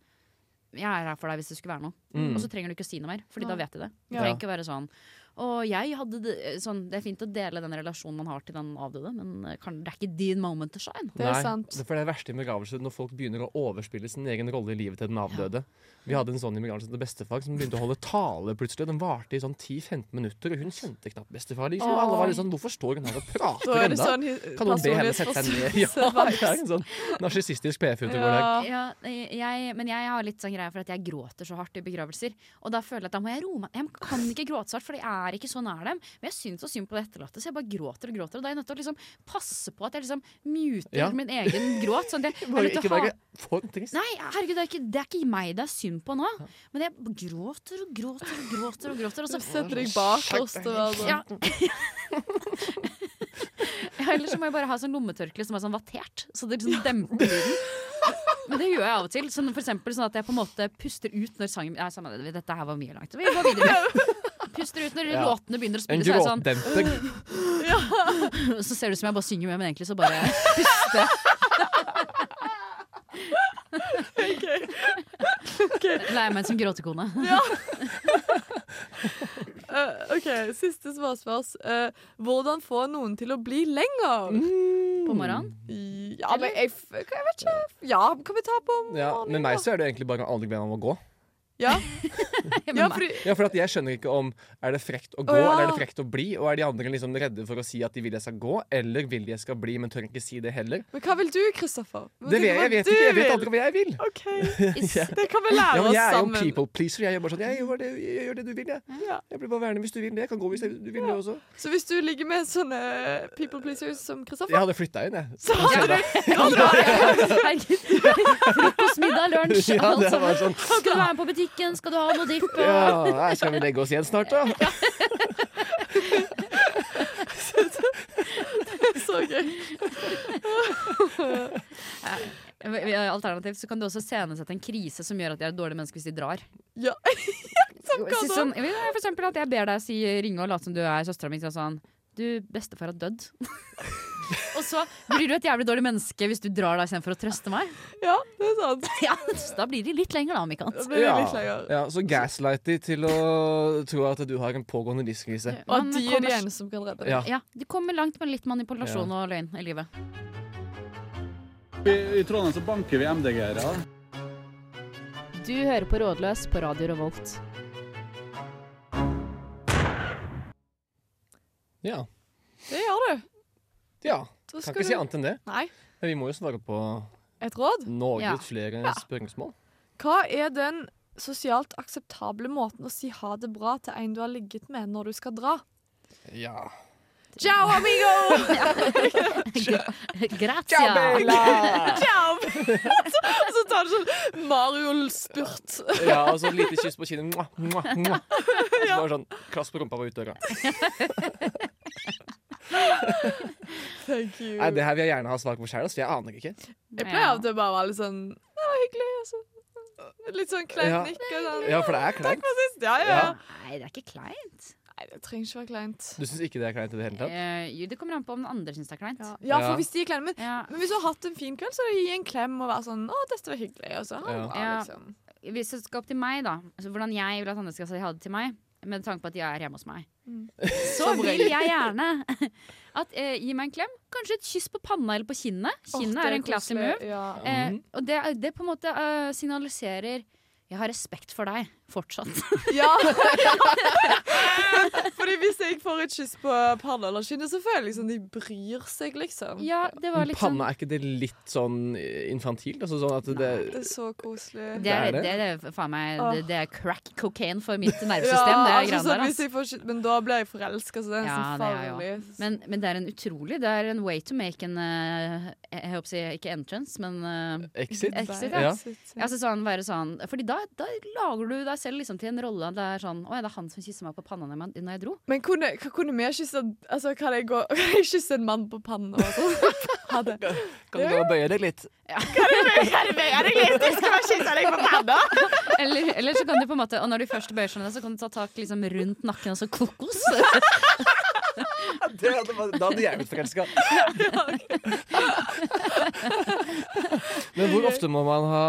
Speaker 5: Jeg er her for deg hvis det skulle være noe.
Speaker 4: Mm.
Speaker 5: Og så trenger du ikke å si noe mer, Fordi da
Speaker 6: Nei.
Speaker 5: vet de det. Du
Speaker 6: Ja.
Speaker 5: trenger ikke være sånn og jeg hadde det, sånn, det er fint å dele den relasjonen man har til den avdøde, men eh, kan, det er ikke din moment to shine.
Speaker 6: Det er
Speaker 4: Nei,
Speaker 6: sant.
Speaker 4: For det er det verste i begravelse når folk begynner å overspille sin egen rolle i livet til den avdøde. Vi hadde en sånn i begravelsen til bestefar som begynte å holde tale plutselig. Den varte i sånn 10-15 minutter, og hun kjente knapt bestefar. Liksom. Og alle var litt sånn 'Hvorfor står hun her og
Speaker 6: Da
Speaker 4: prater
Speaker 6: er det
Speaker 4: ennå?'
Speaker 6: sånn hi-
Speaker 4: Kan noen be henne sette seg ned? Ja, det er en sånn narsissistisk PF ute og går der.
Speaker 6: Ja.
Speaker 5: Ja, jeg, men jeg har litt sånn greie for at jeg gråter så hardt i begravelser. Og da føler jeg at da må jeg roe meg. Jeg kan ikke gråte så hardt, for jeg er ikke så nær dem. Men jeg syns så synd på det etterlatte, så jeg bare gråter og gråter. Og da er jeg nødt til å liksom passe på at jeg liksom muter
Speaker 4: Ja.
Speaker 5: min egen gråt. Sånn at jeg, jeg er
Speaker 4: Bare
Speaker 5: nødt
Speaker 4: ikke
Speaker 5: til å ha
Speaker 4: være for trist.
Speaker 5: Nei, herregud, det er, ikke, det er ikke meg det er synd på nå. Men jeg gråter og gråter og gråter. og gråter Og
Speaker 6: Du
Speaker 5: så
Speaker 6: setter deg bakerst og være sånn.
Speaker 5: ja. ja, ellers så må jeg bare ha sånn lommetørkle som er sånn vattert, så det liksom demper lyden. Men det gjør jeg av og til. Sånn, for eksempel sånn at jeg på en måte puster ut når sangen Nei, samme det, Dette her var mye langt. Vi går videre. Puster ut når
Speaker 4: Ja.
Speaker 5: låtene begynner å
Speaker 4: En
Speaker 5: spille, så er jeg sånn
Speaker 4: gråtdemper.
Speaker 5: så ser det ut som jeg bare synger med, men egentlig så bare puster jeg. Leier meg ut som gråtekone.
Speaker 6: Eh, OK, siste småspørs. Eh, hvordan få noen til å bli lenger?
Speaker 4: Mm.
Speaker 5: På morgenen.
Speaker 6: Ja, men jeg, f- jeg vet ikke. Ja, kan vi ta på
Speaker 4: Ja,
Speaker 6: morgenen?
Speaker 4: med meg så er det egentlig bare å aldri be meg om å gå.
Speaker 6: Ja,
Speaker 5: Hjemme
Speaker 6: ja
Speaker 5: med meg.
Speaker 6: fordi
Speaker 4: Ja, for at jeg skjønner ikke om Er det frekt å gå,
Speaker 6: Å, ja.
Speaker 4: eller er det frekt å bli? Og er de andre liksom redde for å si at de vil jeg skal gå, eller vil jeg skal bli, men tør ikke si det heller?
Speaker 6: Men hva vil du, Kristoffer?
Speaker 4: Det
Speaker 6: Hva tenker
Speaker 4: vet jeg, jeg vet
Speaker 6: du du
Speaker 4: ikke, jeg vet
Speaker 6: vil?
Speaker 4: aldri hva jeg vil.
Speaker 6: OK,
Speaker 5: Is-
Speaker 6: det kan vi
Speaker 4: Ja,
Speaker 6: lære
Speaker 4: men
Speaker 6: oss
Speaker 4: jeg er jo
Speaker 6: sammen.
Speaker 4: people pleaser. Jeg gjør bare sånn Jeg gjør det, jeg gjør det du vil, jeg.
Speaker 6: Ja.
Speaker 4: Jeg blir bare værende hvis du vil det. Jeg kan gå hvis jeg, du vil det også.
Speaker 6: Så hvis du ligger med sånne people pleasers som Kristoffer,
Speaker 4: Jeg hadde flytta inn, jeg.
Speaker 6: så hadde du
Speaker 5: Herregud. Frokost, middag, lunsj.
Speaker 4: Ja,
Speaker 5: alt
Speaker 4: det var
Speaker 5: sammen.
Speaker 4: sånn
Speaker 5: Skal du være med på butikken? Skal du ha noe dipp?
Speaker 4: Ja, nei, skal vi legge oss igjen snart, da?
Speaker 6: så gøy.
Speaker 5: Alternativt så kan du også scenesette en krise som gjør at de er et dårlig menneske hvis de drar.
Speaker 6: Ja. Som
Speaker 5: Si
Speaker 6: kan da.
Speaker 5: sånn, ja, for eksempel at jeg ber deg si, ringe og late som du er søstera mi. Sånn, du, bestefar har dødd. og så blir du et jævlig dårlig menneske hvis du drar da istedenfor å trøste meg.
Speaker 6: Ja, det er sant.
Speaker 5: Ja, så da blir de litt lenger, da, om ikke
Speaker 6: Da
Speaker 5: annet.
Speaker 6: blir det litt lenger.
Speaker 4: ja så gaslight de til å tro at du har en pågående livskrise.
Speaker 6: Og at
Speaker 5: Man
Speaker 6: de er
Speaker 5: kommer-
Speaker 6: de eneste som kan redde deg.
Speaker 4: Ja.
Speaker 5: Ja, De kommer langt med litt manipulasjon og løgn i livet.
Speaker 2: I Trondheim så banker vi MDG-ere.
Speaker 3: Du hører på Rådløs på Radio Revolt.
Speaker 4: Ja.
Speaker 6: Det gjør du.
Speaker 4: ja.
Speaker 6: Da
Speaker 4: Kan
Speaker 6: skal
Speaker 4: ikke si
Speaker 6: du-
Speaker 4: annet enn det.
Speaker 6: Nei.
Speaker 4: Men vi må jo svare på
Speaker 6: Et råd?
Speaker 4: noe
Speaker 5: Ja.
Speaker 4: flere spørsmål.
Speaker 6: Hva er den sosialt akseptable måten å si ha det bra til en du har ligget med, når du skal dra?
Speaker 4: Ja.
Speaker 6: Ciao, amigo!
Speaker 5: Gratia!
Speaker 6: Ciao! Og så tar du sånn Mario-spurt.
Speaker 4: Ja, og så et lite kyss på kinnet. Mwah, mwah, mwah. Og så bare sånn klass på rumpa og ut døra.
Speaker 6: Thank you.
Speaker 4: Nei, det her vil jeg gjerne ha svar på sjøl, for jeg aner ikke.
Speaker 6: Jeg pleier av og til bare å være litt sånn Det var hyggelig. Og så litt sånn kleint
Speaker 4: Ja.
Speaker 6: nikk og sånn.
Speaker 4: Ja, for det er kleint.
Speaker 6: Ja, ja, ja.
Speaker 4: Ja.
Speaker 5: Nei, det er ikke kleint.
Speaker 6: Nei, det trenger ikke være kleint.
Speaker 4: Du syns ikke det er kleint i det hele tatt?
Speaker 5: Eh, jo, det kommer an på om den andre syns det er kleint.
Speaker 6: Ja,
Speaker 4: Ja.
Speaker 6: for hvis de er kleine, men,
Speaker 5: Ja.
Speaker 6: men hvis du har hatt en fin kveld, så gi en klem og være sånn 'Å, dette var hyggelig.' Og så ha det
Speaker 4: Ja.
Speaker 6: bra,
Speaker 5: Ja.
Speaker 6: liksom.
Speaker 5: Hvis det skal opp til meg, da altså Hvordan jeg vil at andre skal si ha det til meg, med tanke på at de er hjemme hos meg,
Speaker 6: Mm.
Speaker 5: så
Speaker 6: Som
Speaker 5: vil
Speaker 6: regel.
Speaker 5: jeg gjerne at eh, Gi meg en klem. Kanskje et kyss på panna eller på kinnet. Kinnet
Speaker 6: Åh, det
Speaker 5: er en classy
Speaker 6: koselig.
Speaker 5: move.
Speaker 6: Ja.
Speaker 5: Eh, og det, er- det på en måte eh, signaliserer jeg har respekt for deg, Fortsatt.
Speaker 6: Ja. Fordi hvis jeg får et kyss på panna eller kinnet, så føler jeg liksom de bryr seg, liksom.
Speaker 5: Ja, det var
Speaker 4: Men
Speaker 5: liksom
Speaker 4: Panna, er ikke det litt sånn infantilt? Altså sånn at det
Speaker 6: Det er så koselig.
Speaker 5: sånn- det
Speaker 4: er
Speaker 5: er,
Speaker 4: det.
Speaker 5: det, er, faen meg, det, det er crack cocaine for mitt nervesystem.
Speaker 6: Ja,
Speaker 5: det er
Speaker 6: altså,
Speaker 5: greiene
Speaker 6: sånn,
Speaker 5: der,
Speaker 6: hvis
Speaker 5: ass.
Speaker 6: jeg får kyss- men da blir jeg forelska, så det er
Speaker 5: Ja,
Speaker 6: nesten
Speaker 5: det er jeg
Speaker 6: farlig.
Speaker 5: Men, men det er en utrolig Det er en way to make an eh, Jeg håper å si ikke entrance, men eh,
Speaker 4: Exit?
Speaker 5: Exit,
Speaker 6: Bare
Speaker 5: ja.
Speaker 6: exit,
Speaker 5: altså sånn, være sånn Fordi da, da lager du deg selv liksom til en rolle Det er sånn, åja, det er han som kysser meg på panna når jeg- når jeg dro
Speaker 6: Men kunne, hva kunne vi kysse altså, kan, jeg gå, kan jeg kysse en mann på pannen? Og sånn? Ha det.
Speaker 4: Kan du bare bøye deg litt?
Speaker 5: eller, eller så kan du på en måte Og når du først bøyer seg ned, så kan du ta tak liksom rundt nakken Og så kokos
Speaker 4: Det hadde, vært- da hadde jeg blitt forelska. Men hvor ofte må man ha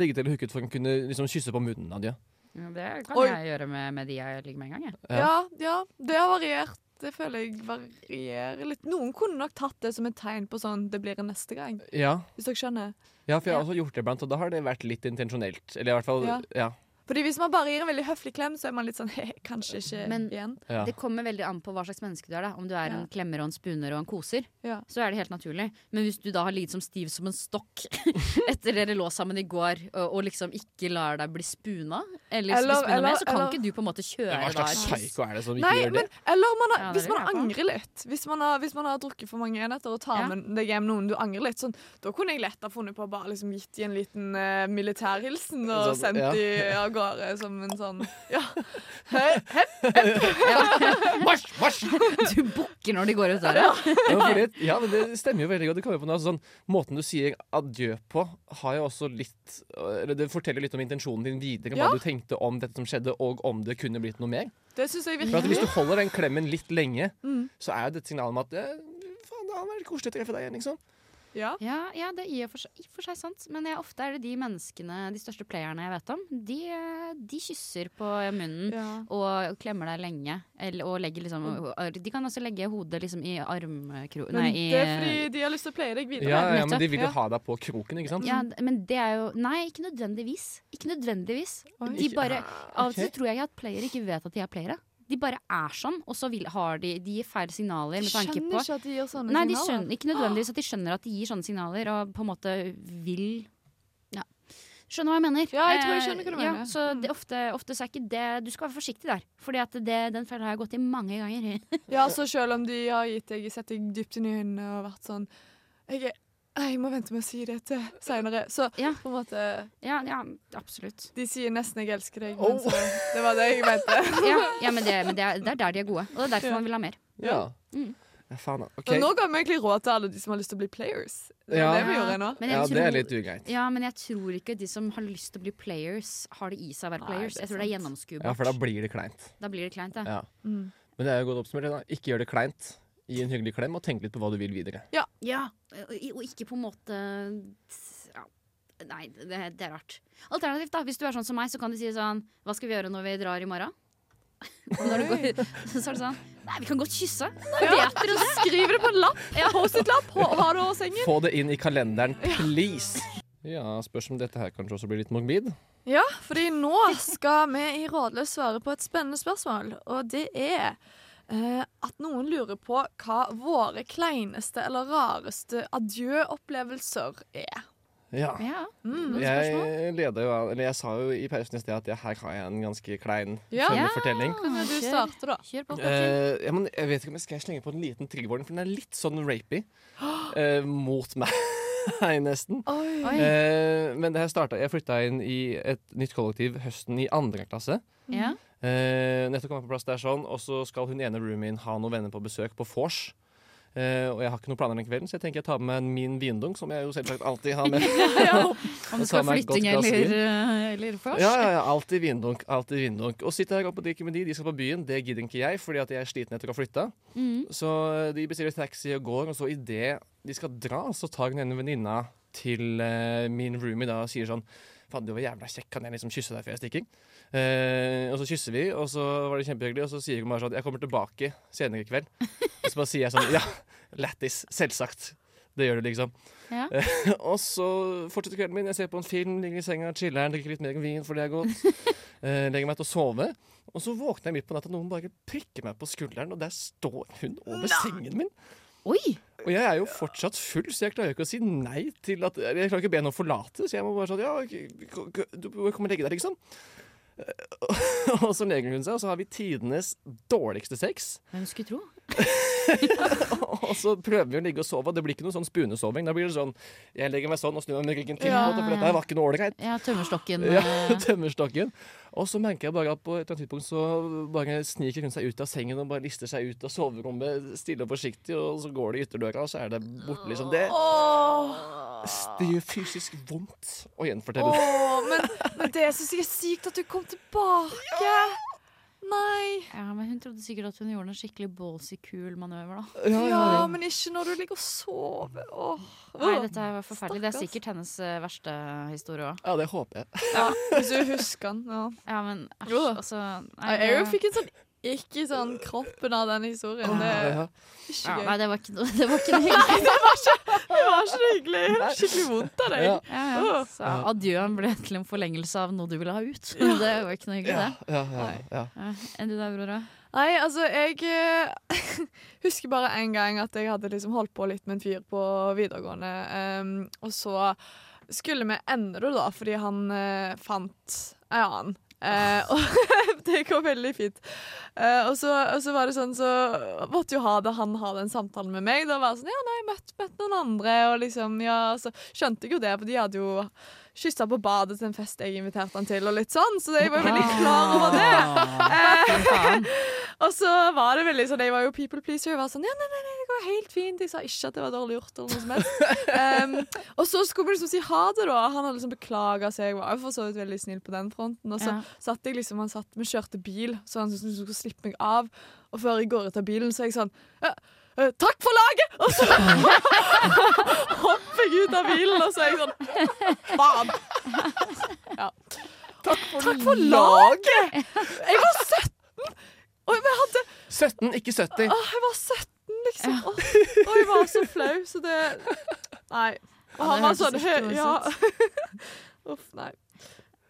Speaker 4: ligget eller hooket for å kunne liksom kysse på munnen, Nadia?
Speaker 5: Ja, Det kan
Speaker 6: Oi.
Speaker 5: jeg gjøre med, med de jeg ligger med en gang jeg.
Speaker 4: Ja.
Speaker 6: Ja, ja, det har variert. Det føler jeg varierer litt. Noen kunne nok tatt det som et tegn på sånn det blir en neste gang.
Speaker 4: Ja,
Speaker 6: Hvis dere skjønner.
Speaker 4: ja for jeg har også gjort det iblant, og da har det vært litt intensjonelt. Eller i hvert fall
Speaker 6: Ja.
Speaker 4: Ja.
Speaker 6: Fordi hvis man bare gir en veldig høflig klem, så er man litt sånn he, kanskje ikke
Speaker 5: Men-
Speaker 6: igjen.
Speaker 4: ja.
Speaker 5: Det kommer veldig an på hva slags menneske du er da Om du er
Speaker 6: Ja.
Speaker 5: en klemmer og en spuner og en koser
Speaker 6: Ja.
Speaker 5: Så er det helt naturlig Men hvis du da har ligget som stiv som en stokk Etter dere lå sammen i går Og, og liksom ikke lar deg bli spuna Eller,
Speaker 6: Eller-
Speaker 5: bli spuna
Speaker 6: eller-
Speaker 5: med Så kan
Speaker 6: eller-
Speaker 5: ikke du på en måte kjøre
Speaker 4: Hva slags
Speaker 5: da,
Speaker 4: psyko er det som ikke
Speaker 6: Nei,
Speaker 4: gjør det?
Speaker 6: men eller man har,
Speaker 5: Ja, det
Speaker 6: hvis
Speaker 5: lurer
Speaker 6: man
Speaker 5: jeg på.
Speaker 6: angrer litt. Hvis man, har, hvis man har drukket for mange enheter og tar
Speaker 5: Ja.
Speaker 6: med deg hjem noen du angrer litt, sånn, da kunne jeg lett ha funnet på å bare liksom gitt de en liten eh, militærhilsen og
Speaker 4: Sånn,
Speaker 6: sendt
Speaker 4: ja.
Speaker 6: de av gårde som en sånn Ja. Hei, hei.
Speaker 4: Marsj, marsj!
Speaker 5: Du bukker når de går ut døra.
Speaker 4: Ja, men fordi, ja, men det stemmer jo veldig godt. Det kommer jo på noe, altså, sånn, måten du sier adjø på, har jo også litt eller Det forteller litt om intensjonen din videre,
Speaker 6: Ja.
Speaker 4: hva du tenkte om dette som skjedde, og om det kunne blitt noe mer.
Speaker 6: Det syns jeg
Speaker 4: For at Hvis
Speaker 6: virkelig.
Speaker 4: du holder den klemmen litt lenge,
Speaker 6: Mm.
Speaker 4: så er jo dette signalet om at eh, Faen, det hadde vært koselig å treffe deg igjen, liksom.
Speaker 6: Ja.
Speaker 5: Ja, ja, det er i og for seg, i og for seg sant. Men jeg, ofte er det de menneskene, de største playerne jeg vet om, de, eh, de kysser på munnen.
Speaker 6: Ja.
Speaker 5: Og klemmer deg lenge. Eller, og legger liksom De kan også legge hodet liksom i armkro...
Speaker 6: Mm. Men
Speaker 5: Nei, eh, i
Speaker 6: det er fordi de har lyst til å pleie deg videre.
Speaker 4: Ja, ja, men de vil jo
Speaker 6: Ja.
Speaker 4: ha deg på kroken, ikke sant?
Speaker 5: ja, men det er jo Nei, ikke nødvendigvis. Ikke nødvendigvis.
Speaker 6: Oi.
Speaker 5: De bare Av og til
Speaker 4: ok.
Speaker 5: tror jeg at playere ikke vet at de er playere. De bare er sånn, og så vil, har de De gir feil signaler med tanke på
Speaker 6: skjønner ikke at de gjør sånne
Speaker 5: Nei, de
Speaker 6: signaler. Ah.
Speaker 5: skjønner ikke nødvendigvis at de skjønner at de gir sånne signaler, og på en måte vil ja. Skjønner hva jeg mener.
Speaker 6: Ja, jeg tror jeg
Speaker 5: Eh,
Speaker 6: skjønner hva du
Speaker 5: ja,
Speaker 6: mener. Mm.
Speaker 5: Så det, ofte, ofte så er ikke det Du skal være forsiktig der, Fordi at det, den fella har jeg gått i mange ganger.
Speaker 6: Ja, så selv om de har gitt deg, sett deg dypt inn i øynene og vært sånn Jeg, er- jeg må vente med å si det til seinere. Så
Speaker 5: Ja.
Speaker 6: på en måte
Speaker 5: Ja, ja absolutt.
Speaker 6: De sier nesten 'jeg elsker deg',
Speaker 4: Oh.
Speaker 6: men så Det var det jeg mente.
Speaker 5: Ja, ja men, det, men det, er, det er der de er gode, og det er derfor man vil ha mer.
Speaker 4: Ja.
Speaker 5: Mm.
Speaker 4: ja faen, da. OK.
Speaker 6: Og nå ga vi egentlig råd til alle de som har lyst til å bli players. Det var
Speaker 4: Ja.
Speaker 6: det vi gjorde nå.
Speaker 5: Men jeg
Speaker 4: Ja, det
Speaker 5: tror-
Speaker 4: er litt ugreit.
Speaker 5: Ja, men jeg tror ikke de som har lyst til å bli players, har det i seg å være
Speaker 6: Nei,
Speaker 5: players.
Speaker 6: det er
Speaker 5: Jeg tror det er
Speaker 4: Ja,
Speaker 5: gjennomskuebart.
Speaker 4: for da blir det kleint.
Speaker 5: da blir det kleint, det.
Speaker 4: Ja.
Speaker 6: Mm.
Speaker 4: Men det er jo godt oppsummert. det da. Ikke gjør det kleint. Gi en hyggelig klem, og tenk litt på hva du vil videre.
Speaker 5: Ja, og og ikke på en måte ja. Nei, det, det er rart. Alternativt, da, hvis du er sånn som meg, så kan du si sånn Hva skal vi gjøre når vi drar i morgen? Når du går, så er det sånn Nei, vi kan godt kysse. Da vet dere det.
Speaker 6: Skriv det på en lapp!
Speaker 5: Ja.
Speaker 6: Post-it-lapp! Ha- Har du over sengen?
Speaker 4: Få det inn i kalenderen, please! Ja, spørs om dette her kanskje også blir litt morbid.
Speaker 6: Ja, fordi nå skal vi i Rådløs svare på et spennende spørsmål, og det er eh, at noen lurer på hva våre kleineste eller rareste adjø-opplevelser er.
Speaker 4: Ja.
Speaker 5: Ja.
Speaker 6: Mm.
Speaker 4: Jeg leda jo av Eller jeg sa jo i pausen i sted at jeg, her har jeg en ganske klein
Speaker 6: Ja.
Speaker 4: funny fortelling.
Speaker 6: Kan du
Speaker 5: Kjør.
Speaker 6: starte, da?
Speaker 5: Kjør på. Torkil.
Speaker 4: Eh, ja, men jeg vet ikke om jeg skal slenge på en liten triggerwarning, for den er litt sånn rapey. eh, mot meg, nesten.
Speaker 6: Oi.
Speaker 5: Oi.
Speaker 4: Eh, men det her starta Jeg flytta inn i et nytt kollektiv høsten i andre klasse.
Speaker 5: Ja.
Speaker 4: Eh, nettopp kommet på plass der sånn, og så skal hun ene roomien ha noen venner på besøk på vors. Eh, og jeg har ikke noen planer den kvelden, så jeg tenker jeg tar med meg min vindunk, som jeg jo selvsagt alltid har med. Og
Speaker 5: Om det skal
Speaker 4: ta
Speaker 5: være
Speaker 4: meg et godt
Speaker 5: flytting
Speaker 4: glass
Speaker 5: eller, eller vors.
Speaker 4: Ja, ja, ja, alltid vindunk, alltid vindunk. Og sitter her oppe og drikker med de, de skal på byen, det gidder ikke jeg, fordi at jeg er sliten etter å ha flytta.
Speaker 5: Mhm.
Speaker 4: Så eh, de bestiller taxi og går, og så idet de skal dra, så tar hun ene venninna til eh, min roomie da og sier sånn Faen, du var jævla kjekk, kan jeg liksom kysse deg før jeg stikker? Eh, og så kysser vi, og så var det kjempehyggelig, og så sier hun bare sånn Jeg kommer tilbake senere i kveld. Og så bare sier jeg sånn Ja, lættis, selvsagt. Det gjør det, liksom.
Speaker 5: Ja.
Speaker 4: og så fortsetter kvelden min. Jeg ser på en film, ligger i senga, chiller'n, drikker litt mer vin, for det er godt. Eh, legger meg til å sove. Og så våkner jeg midt på natta, og noen bare prikker meg på skulderen, og der står hun over sengen min.
Speaker 5: Oi!
Speaker 4: Og jeg er jo fortsatt full, så jeg klarer jo ikke å si nei til at Jeg klarer ikke å be henne å forlate, så jeg må bare sånn Ja, ok, k- k- du må komme og legge deg, liksom. Eh, Og så legger hun seg, og så har vi tidenes dårligste sex.
Speaker 5: Hvem skulle tro?
Speaker 4: Og så prøver vi å ligge og sove, og det blir ikke noe sånn spunesoving. Da blir det sånn Jeg legger meg sånn og snur meg med ryggen til,
Speaker 5: Ja,
Speaker 4: for
Speaker 5: ja, ja.
Speaker 4: dette her var ikke noe ålreit.
Speaker 5: Ja, tømmerstokken.
Speaker 4: Ja,
Speaker 5: eh,
Speaker 4: tømmerstokken. Og så merker jeg bare at på et eller annet tidspunkt så bare sniker hun seg ut av sengen og bare lister seg ut av soverommet stille og forsiktig, og så går det i ytterdøra, og så er det borte, liksom. Det, det gjør fysisk vondt å gjenfortelle. det.
Speaker 6: Åh, men, men det syns jeg er sykt at du kom tilbake. Nei.
Speaker 5: Ja, men Hun trodde sikkert at hun gjorde en skikkelig ballsy cool manøver. da
Speaker 6: Ja, men ikke når du ligger og sover. Åh.
Speaker 5: Nei, dette her var forferdelig. Det er
Speaker 6: Stakkars.
Speaker 5: sikkert hennes eh, verste historie òg.
Speaker 4: Ja, det håper jeg.
Speaker 6: Ja, hvis du husker den. Ja.
Speaker 5: Ja, men æsj,
Speaker 6: Jo da.
Speaker 5: altså
Speaker 6: Nei,
Speaker 5: nei,
Speaker 6: jeg jo
Speaker 5: det-
Speaker 6: fikk en sånn ikke sånn kroppen av den historien.
Speaker 5: Eh,
Speaker 6: Det er
Speaker 4: Ja.
Speaker 6: ikke
Speaker 5: ja,
Speaker 6: gøy.
Speaker 5: Nei, det var ikke noe det var ikke noe hyggelig.
Speaker 6: Det var ikke hyggelig. Skikkelig vondt av deg.
Speaker 4: Ja,
Speaker 5: Ja, ja. Så adjøen ble til en forlengelse av noe du ville ha ut. Det var ikke noe hyggelig,
Speaker 4: ja,
Speaker 5: det.
Speaker 4: ja, ja, ja.
Speaker 5: Ja. Enn du da, Aurora?
Speaker 6: Nei, altså, jeg eh, husker bare en gang at jeg hadde liksom holdt på litt med en fyr på videregående. em, og så skulle vi ende det, da, fordi han eh, fant en annen. Eh, og det går veldig fint. Eh, og, så, og så var det sånn, så måtte jo ha det han ha den samtalen med meg. Da var det sånn, ja, nei, møtt, møtt noen andre. Og liksom, ja, så skjønte jeg jo det, for de hadde jo kyssa på badet til en fest jeg inviterte han til, og litt sånn. Så jeg var jo veldig klar over det. Og så var det veldig sånn, jeg var jo people pleaser. Jeg var sånn, ja, nei, nei, nei, det går helt fint. Jeg sa ikke at det var dårlig gjort eller noe som helst. Em, og så skulle vi liksom si ha det, da. Han hadde liksom beklaga seg. Jeg var jo for så vidt veldig snill på den fronten. Og så
Speaker 5: Ja.
Speaker 6: satt jeg liksom, han satt, vi kjørte bil, så han syntes han skulle slippe meg av. Og før jeg går ut av bilen, så er jeg sånn «Ja, eh, Takk for laget! Og så hopper jeg ut av bilen, og så er jeg sånn Faen! Ja. Takk for, laget! Jeg var 17! Og jeg hadde
Speaker 4: 17, ikke 70.
Speaker 6: Åh, jeg var 17, liksom. Åh, og jeg var så flau, så det Nei. Og
Speaker 5: Ja, det
Speaker 6: han var
Speaker 5: hørtes
Speaker 6: sånn
Speaker 5: ikke
Speaker 6: hø-
Speaker 5: ut
Speaker 6: Ja.
Speaker 5: sånn.
Speaker 6: Uff, nei.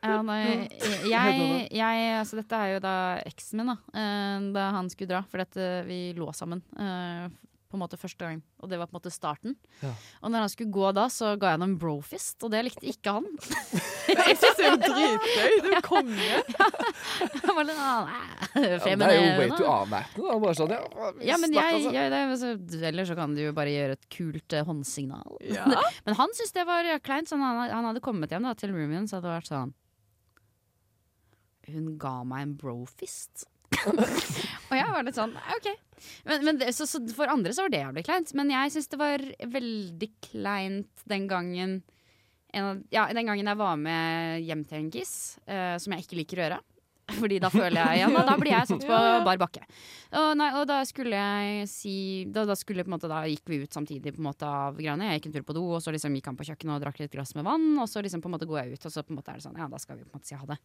Speaker 5: Ja, nei, jeg, jeg altså Dette er jo da eksen min, da. eh, Da han skulle dra. For dette, vi lå sammen eh, på en måte første gang, og det var på en måte starten.
Speaker 4: Ja.
Speaker 5: Og når han skulle gå da, så ga jeg ham en brofist, og det likte ikke han.
Speaker 6: Jeg syns det er jo dritgøy. Det er jo konge.
Speaker 5: Han var litt, sånn, "Æ,
Speaker 4: Ja, men det er jo way
Speaker 5: feminerende."
Speaker 4: to avvæpne, da. Bare sånn, ja,
Speaker 5: Ja, men
Speaker 4: snakker
Speaker 5: jeg,
Speaker 4: seg.
Speaker 5: jeg, det, er- altså, Ellers så kan du jo bare gjøre et kult eh, håndsignal.
Speaker 6: Ja.
Speaker 5: Men han syntes det var eh, kleint, så han, han hadde kommet hjem da, til roomien, så hadde det vært sånn Hun ga meg en brofist. og jeg var litt sånn OK. Men, men det, så, så for andre så var det jævlig kleint. Men jeg syns det var veldig kleint den gangen en av, ja, Den gangen jeg var med hjem til en kiss, eh, som jeg ikke liker å gjøre. Fordi da føler jeg igjen, og da blir jeg satt på bar bakke. Og, nei, og da skulle jeg si Da, da, skulle på en måte, da gikk vi ut samtidig på en måte av greiene. Jeg gikk en tur på do, og så liksom gikk han på kjøkkenet og drakk litt glass med vann. Og så liksom på en måte går jeg ut, og så på en måte er det sånn Ja, da skal vi på en måte si ha det.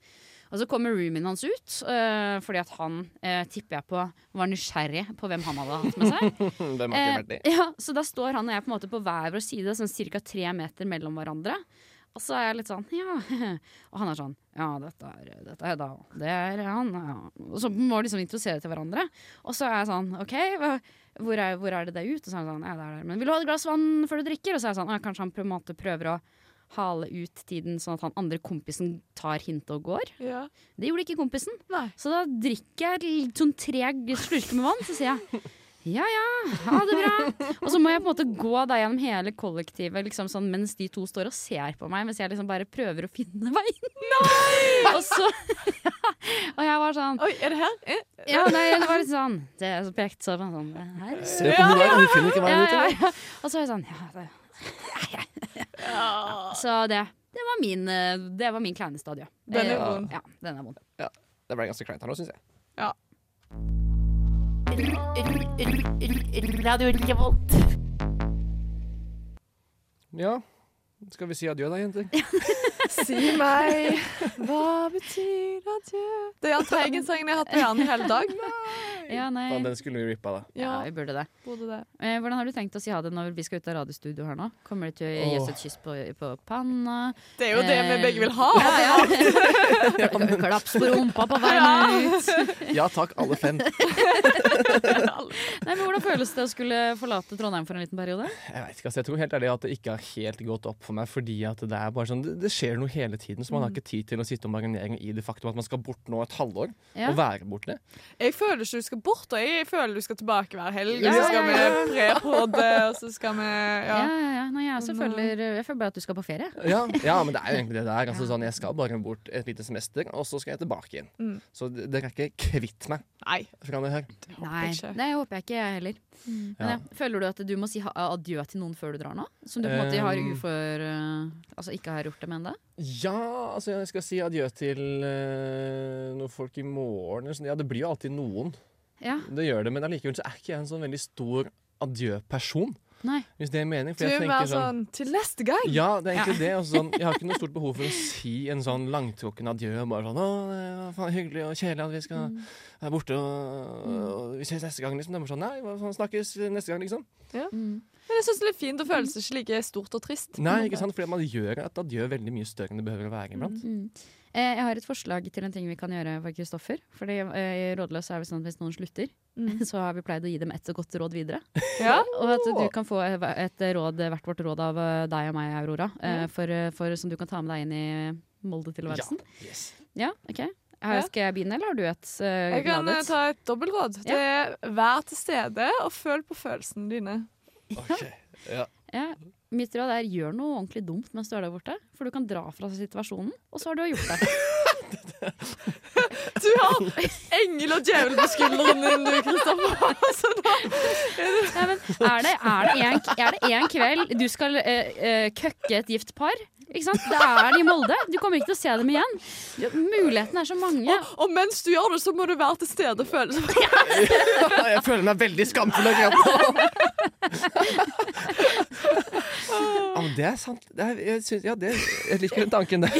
Speaker 5: Og så kommer roomien hans ut, øh, fordi at han, øh, tipper jeg på, var nysgjerrig på hvem han hadde hatt med seg.
Speaker 4: Hmm, Hvem har ikke
Speaker 5: Eh,
Speaker 4: vært det?
Speaker 5: Ja, så da står han og jeg på en måte på hver vår side, sånn cirka tre meter mellom hverandre. Og så er jeg litt sånn, ja. Og han er sånn, ja, dette er, dette er da, det er han, ja. Og så må vi liksom introdusere til hverandre. Og så er jeg sånn, ok, hva, hvor, er, hvor er det det er ut? Og så er han sånn, ja, det er der. Men vil du ha et glass vann før du drikker? Og så er jeg sånn, ja, kanskje han på en måte prøver å hale ut tiden sånn at han andre kompisen tar hint og går.
Speaker 6: Ja.
Speaker 5: Det gjorde ikke kompisen.
Speaker 6: Nei.
Speaker 5: Så da drikker jeg litt sånn tre slurker med vann, så sier jeg ja ja, ha det bra. Og så må jeg på en måte gå da gjennom hele kollektivet liksom sånn, mens de to står og ser på meg, mens jeg liksom bare prøver å finne veien. Og så Og jeg var sånn
Speaker 6: Oi, er det her? Eh,
Speaker 5: Ja, nei, det var litt sånn Det er så pekt så var jeg sånn det her.
Speaker 4: Se på hun der, hun finner ikke
Speaker 5: Ja,
Speaker 4: veien ut.
Speaker 5: ja,
Speaker 4: eller?
Speaker 5: ja. Og så er jeg sånn ja, det, ja, ja. Så det, det var min eh, Det var min kleine stadie.
Speaker 6: Den er
Speaker 5: Eh,
Speaker 6: vond.
Speaker 5: Ja, den er vond.
Speaker 4: Det ble ganske kleint her nå, syns jeg.
Speaker 3: Radio Revolt.
Speaker 4: Ja. Skal vi si adjø, da, jenter?
Speaker 6: Si meg, hva betyr adjø? Det er Jahn Teigen-sangen jeg har hatt på hjernen hele dag.
Speaker 5: Ja, nei.
Speaker 4: Faen, Den skulle vi rippa, da.
Speaker 5: Ja,
Speaker 6: Ja,
Speaker 5: vi burde det.
Speaker 6: både det.
Speaker 5: Eh, hvordan har du tenkt å si ha det når vi skal ut av radiostudio her nå? Kommer du til å gi oss et kyss på, på panna?
Speaker 6: Det er jo det vi
Speaker 5: Eh,
Speaker 6: begge vil ha.
Speaker 5: Ja, ja. Kommer det klaps på rumpa på veien ut?
Speaker 4: Ja takk, alle fem.
Speaker 5: Nei, men Hvordan føles det å skulle forlate Trondheim for en liten periode?
Speaker 4: Jeg vet ikke, altså, jeg tror helt ærlig at det ikke har helt gått opp for meg, fordi at det er bare sånn, det, det skjer noe hele tiden, så man
Speaker 5: Mm.
Speaker 4: har ikke tid til å sitte og marinere i det faktum at man skal bort nå et halvår,
Speaker 5: Ja.
Speaker 4: og være borte.
Speaker 6: Jeg føler ikke du skal bort, og jeg føler du skal tilbake hver helg.
Speaker 5: Ja,
Speaker 6: og så skal
Speaker 5: ja, ja.
Speaker 6: vi pre-podde, og så skal vi
Speaker 5: Ja,
Speaker 6: ja.
Speaker 5: ja, ja. Nei, jeg, også føler, jeg føler bare at du skal på ferie.
Speaker 4: Ja, ja, men det er jo egentlig det det er. Altså, sånn, jeg skal bare bort et lite semester, og så skal jeg tilbake igjen.
Speaker 6: Mm.
Speaker 4: Så d- dere er ikke kvitt meg
Speaker 6: Nei.
Speaker 4: fra det her.
Speaker 5: Nei,
Speaker 6: ikke.
Speaker 5: det håper jeg ikke jeg heller. Men ja. Føler du at du må si ha- adjø til noen før du drar nå? Som du på en måte har
Speaker 4: Um.
Speaker 5: ufor eh, Altså ikke har gjort det med ennå?
Speaker 4: Ja, altså jeg skal si adjø til eh, noen folk i morgen. eller sånn. Ja, det blir jo alltid noen.
Speaker 5: Ja.
Speaker 4: Det gjør det, men allikevel så er ikke jeg en sånn veldig stor adjø-person,
Speaker 5: Nei.
Speaker 4: hvis det er mening.
Speaker 6: Du
Speaker 4: For jeg
Speaker 6: må være
Speaker 4: tenker sånn
Speaker 6: sånn Til neste gang!
Speaker 4: Ja, det er egentlig det. og sånn, jeg har ikke noe stort behov for å si en sånn langtrukken adjø. Bare sånn 'Å, det var faen hyggelig og kjedelig at vi skal være borte, og, og vi ses neste gang', liksom. Det er bare sånn 'Nei, hva faen, snakkes neste gang', liksom.
Speaker 6: Men jeg syns det er fint, og føles ikke like stort og trist.
Speaker 4: Nei, ikke sant? Fordi man gjør et adjø veldig mye større enn det behøver å være iblant.
Speaker 5: Eh, Jeg har et forslag til en ting vi kan gjøre for Kristoffer. Fordi eh, i Rådløs er vi sånn at hvis noen slutter,
Speaker 6: Mm.
Speaker 5: så har vi pleid å gi dem et så godt råd videre.
Speaker 6: Ja.
Speaker 5: Og at du kan få et et råd, hvert vårt råd av eh, deg og meg, Aurora, eh,
Speaker 6: Mm.
Speaker 5: for, eh, for, som du kan ta med deg inn i Molde-tilværelsen.
Speaker 4: Yes.
Speaker 5: Ja. ok.
Speaker 6: Ja.
Speaker 5: Her skal jeg begynne, eller har du et uh,
Speaker 6: Jeg kan eh, ta et dobbeltråd. Det er vær til stede og føl på følelsene dine.
Speaker 5: Ja. Mitt råd er gjør noe ordentlig dumt mens du er der borte. For du kan dra fra situasjonen, og så har du gjort det.
Speaker 6: Du har engel og djevel på skulderen din, du, Kristoffer. Så da
Speaker 5: Nei, men er det- er det en- er det én kveld du skal eh, eh, køkke et gift par? Ikke sant? Det er de i Molde. Du kommer ikke til å se dem igjen. Mulighetene er så mange.
Speaker 6: Og mens du gjør det, så må du være til stede og føle
Speaker 4: Jeg føler meg veldig skamfull og grønn. Ja, Ah, men det er sant. Det er, jeg, synes, ja, det, jeg liker den tanken der.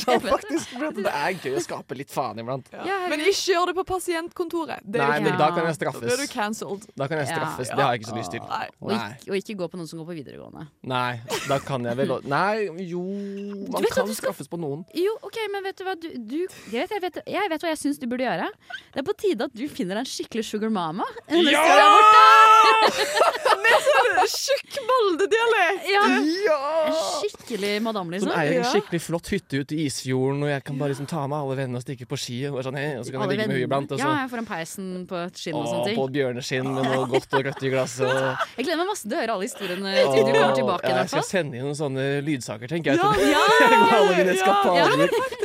Speaker 4: Sånn, faktisk, for at det er gøy å skape litt faen iblant.
Speaker 5: Ja,
Speaker 6: Men ikke gjør det på pasientkontoret. Det
Speaker 4: Nei,
Speaker 6: er
Speaker 5: men
Speaker 6: jo
Speaker 4: men
Speaker 5: ja.
Speaker 4: da kan jeg
Speaker 6: Da blir du
Speaker 4: straffes.
Speaker 6: cancelled.
Speaker 4: Da kan jeg
Speaker 5: Ja.
Speaker 4: straffes. Det har jeg ikke så lyst til.
Speaker 6: Nei.
Speaker 5: Og
Speaker 4: Nei,
Speaker 5: ikke, og ikke gå på noen som går på videregående.
Speaker 4: nei da kan jeg vel å- Nei, jo Man
Speaker 5: vet at
Speaker 4: kan
Speaker 5: du skal-
Speaker 4: straffes på noen.
Speaker 5: Jo, ok, men vet du hva? Du, du, jeg, vet, jeg, vet, jeg vet hva jeg syns du burde gjøre. Det er på tide at du finner deg en skikkelig sugar mama. Ja!
Speaker 6: Tjukk Molde-dialekt!
Speaker 5: ja! En skikkelig madam,
Speaker 4: Som
Speaker 5: liksom.
Speaker 4: Sånn, eier en
Speaker 6: Ja.
Speaker 4: skikkelig flott hytte ute i isfjorden, og jeg kan bare liksom ta med alle vennene og stikke på ski. Og, bare sånn, hei, og så kan jeg
Speaker 5: Alle
Speaker 4: ligge med
Speaker 5: vennene.
Speaker 4: henne iblant. Og så
Speaker 5: Ja, jeg får en peisen på et skinn og
Speaker 4: Å, på
Speaker 5: sånne ting.
Speaker 4: et bjørneskinn med noe godt og rødt i glasset. og-
Speaker 5: Jeg gleder meg masse til å høre alle historiene til du kommer
Speaker 4: Å,
Speaker 5: tilbake. i
Speaker 4: ja, jeg
Speaker 5: hvert
Speaker 4: skal
Speaker 5: fall.
Speaker 4: sende inn noen sånne lydsaker, tenker jeg.
Speaker 6: Ja,
Speaker 4: til-
Speaker 6: ja,
Speaker 4: med alle mine
Speaker 6: ja,
Speaker 4: eskapader.
Speaker 6: faktisk.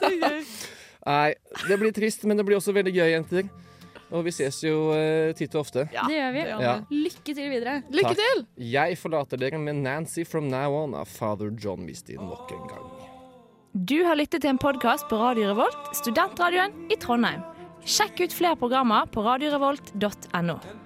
Speaker 6: Det er gøy.
Speaker 4: Nei, det blir trist, men det blir også veldig gøy, jenter. Og vi ses jo eh, titt og ofte.
Speaker 6: Ja,
Speaker 5: Det gjør vi.
Speaker 6: det gjør
Speaker 4: Ja.
Speaker 5: Lykke til videre.
Speaker 6: Lykke
Speaker 4: Takk.
Speaker 6: til!
Speaker 4: Jeg forlater dere med Nancy From Now On av Father John Misty nok en gang.
Speaker 10: Du har lyttet til en podkast på Radio Revolt, studentradioen i Trondheim. Sjekk ut flere programmer på radiorevolt.no.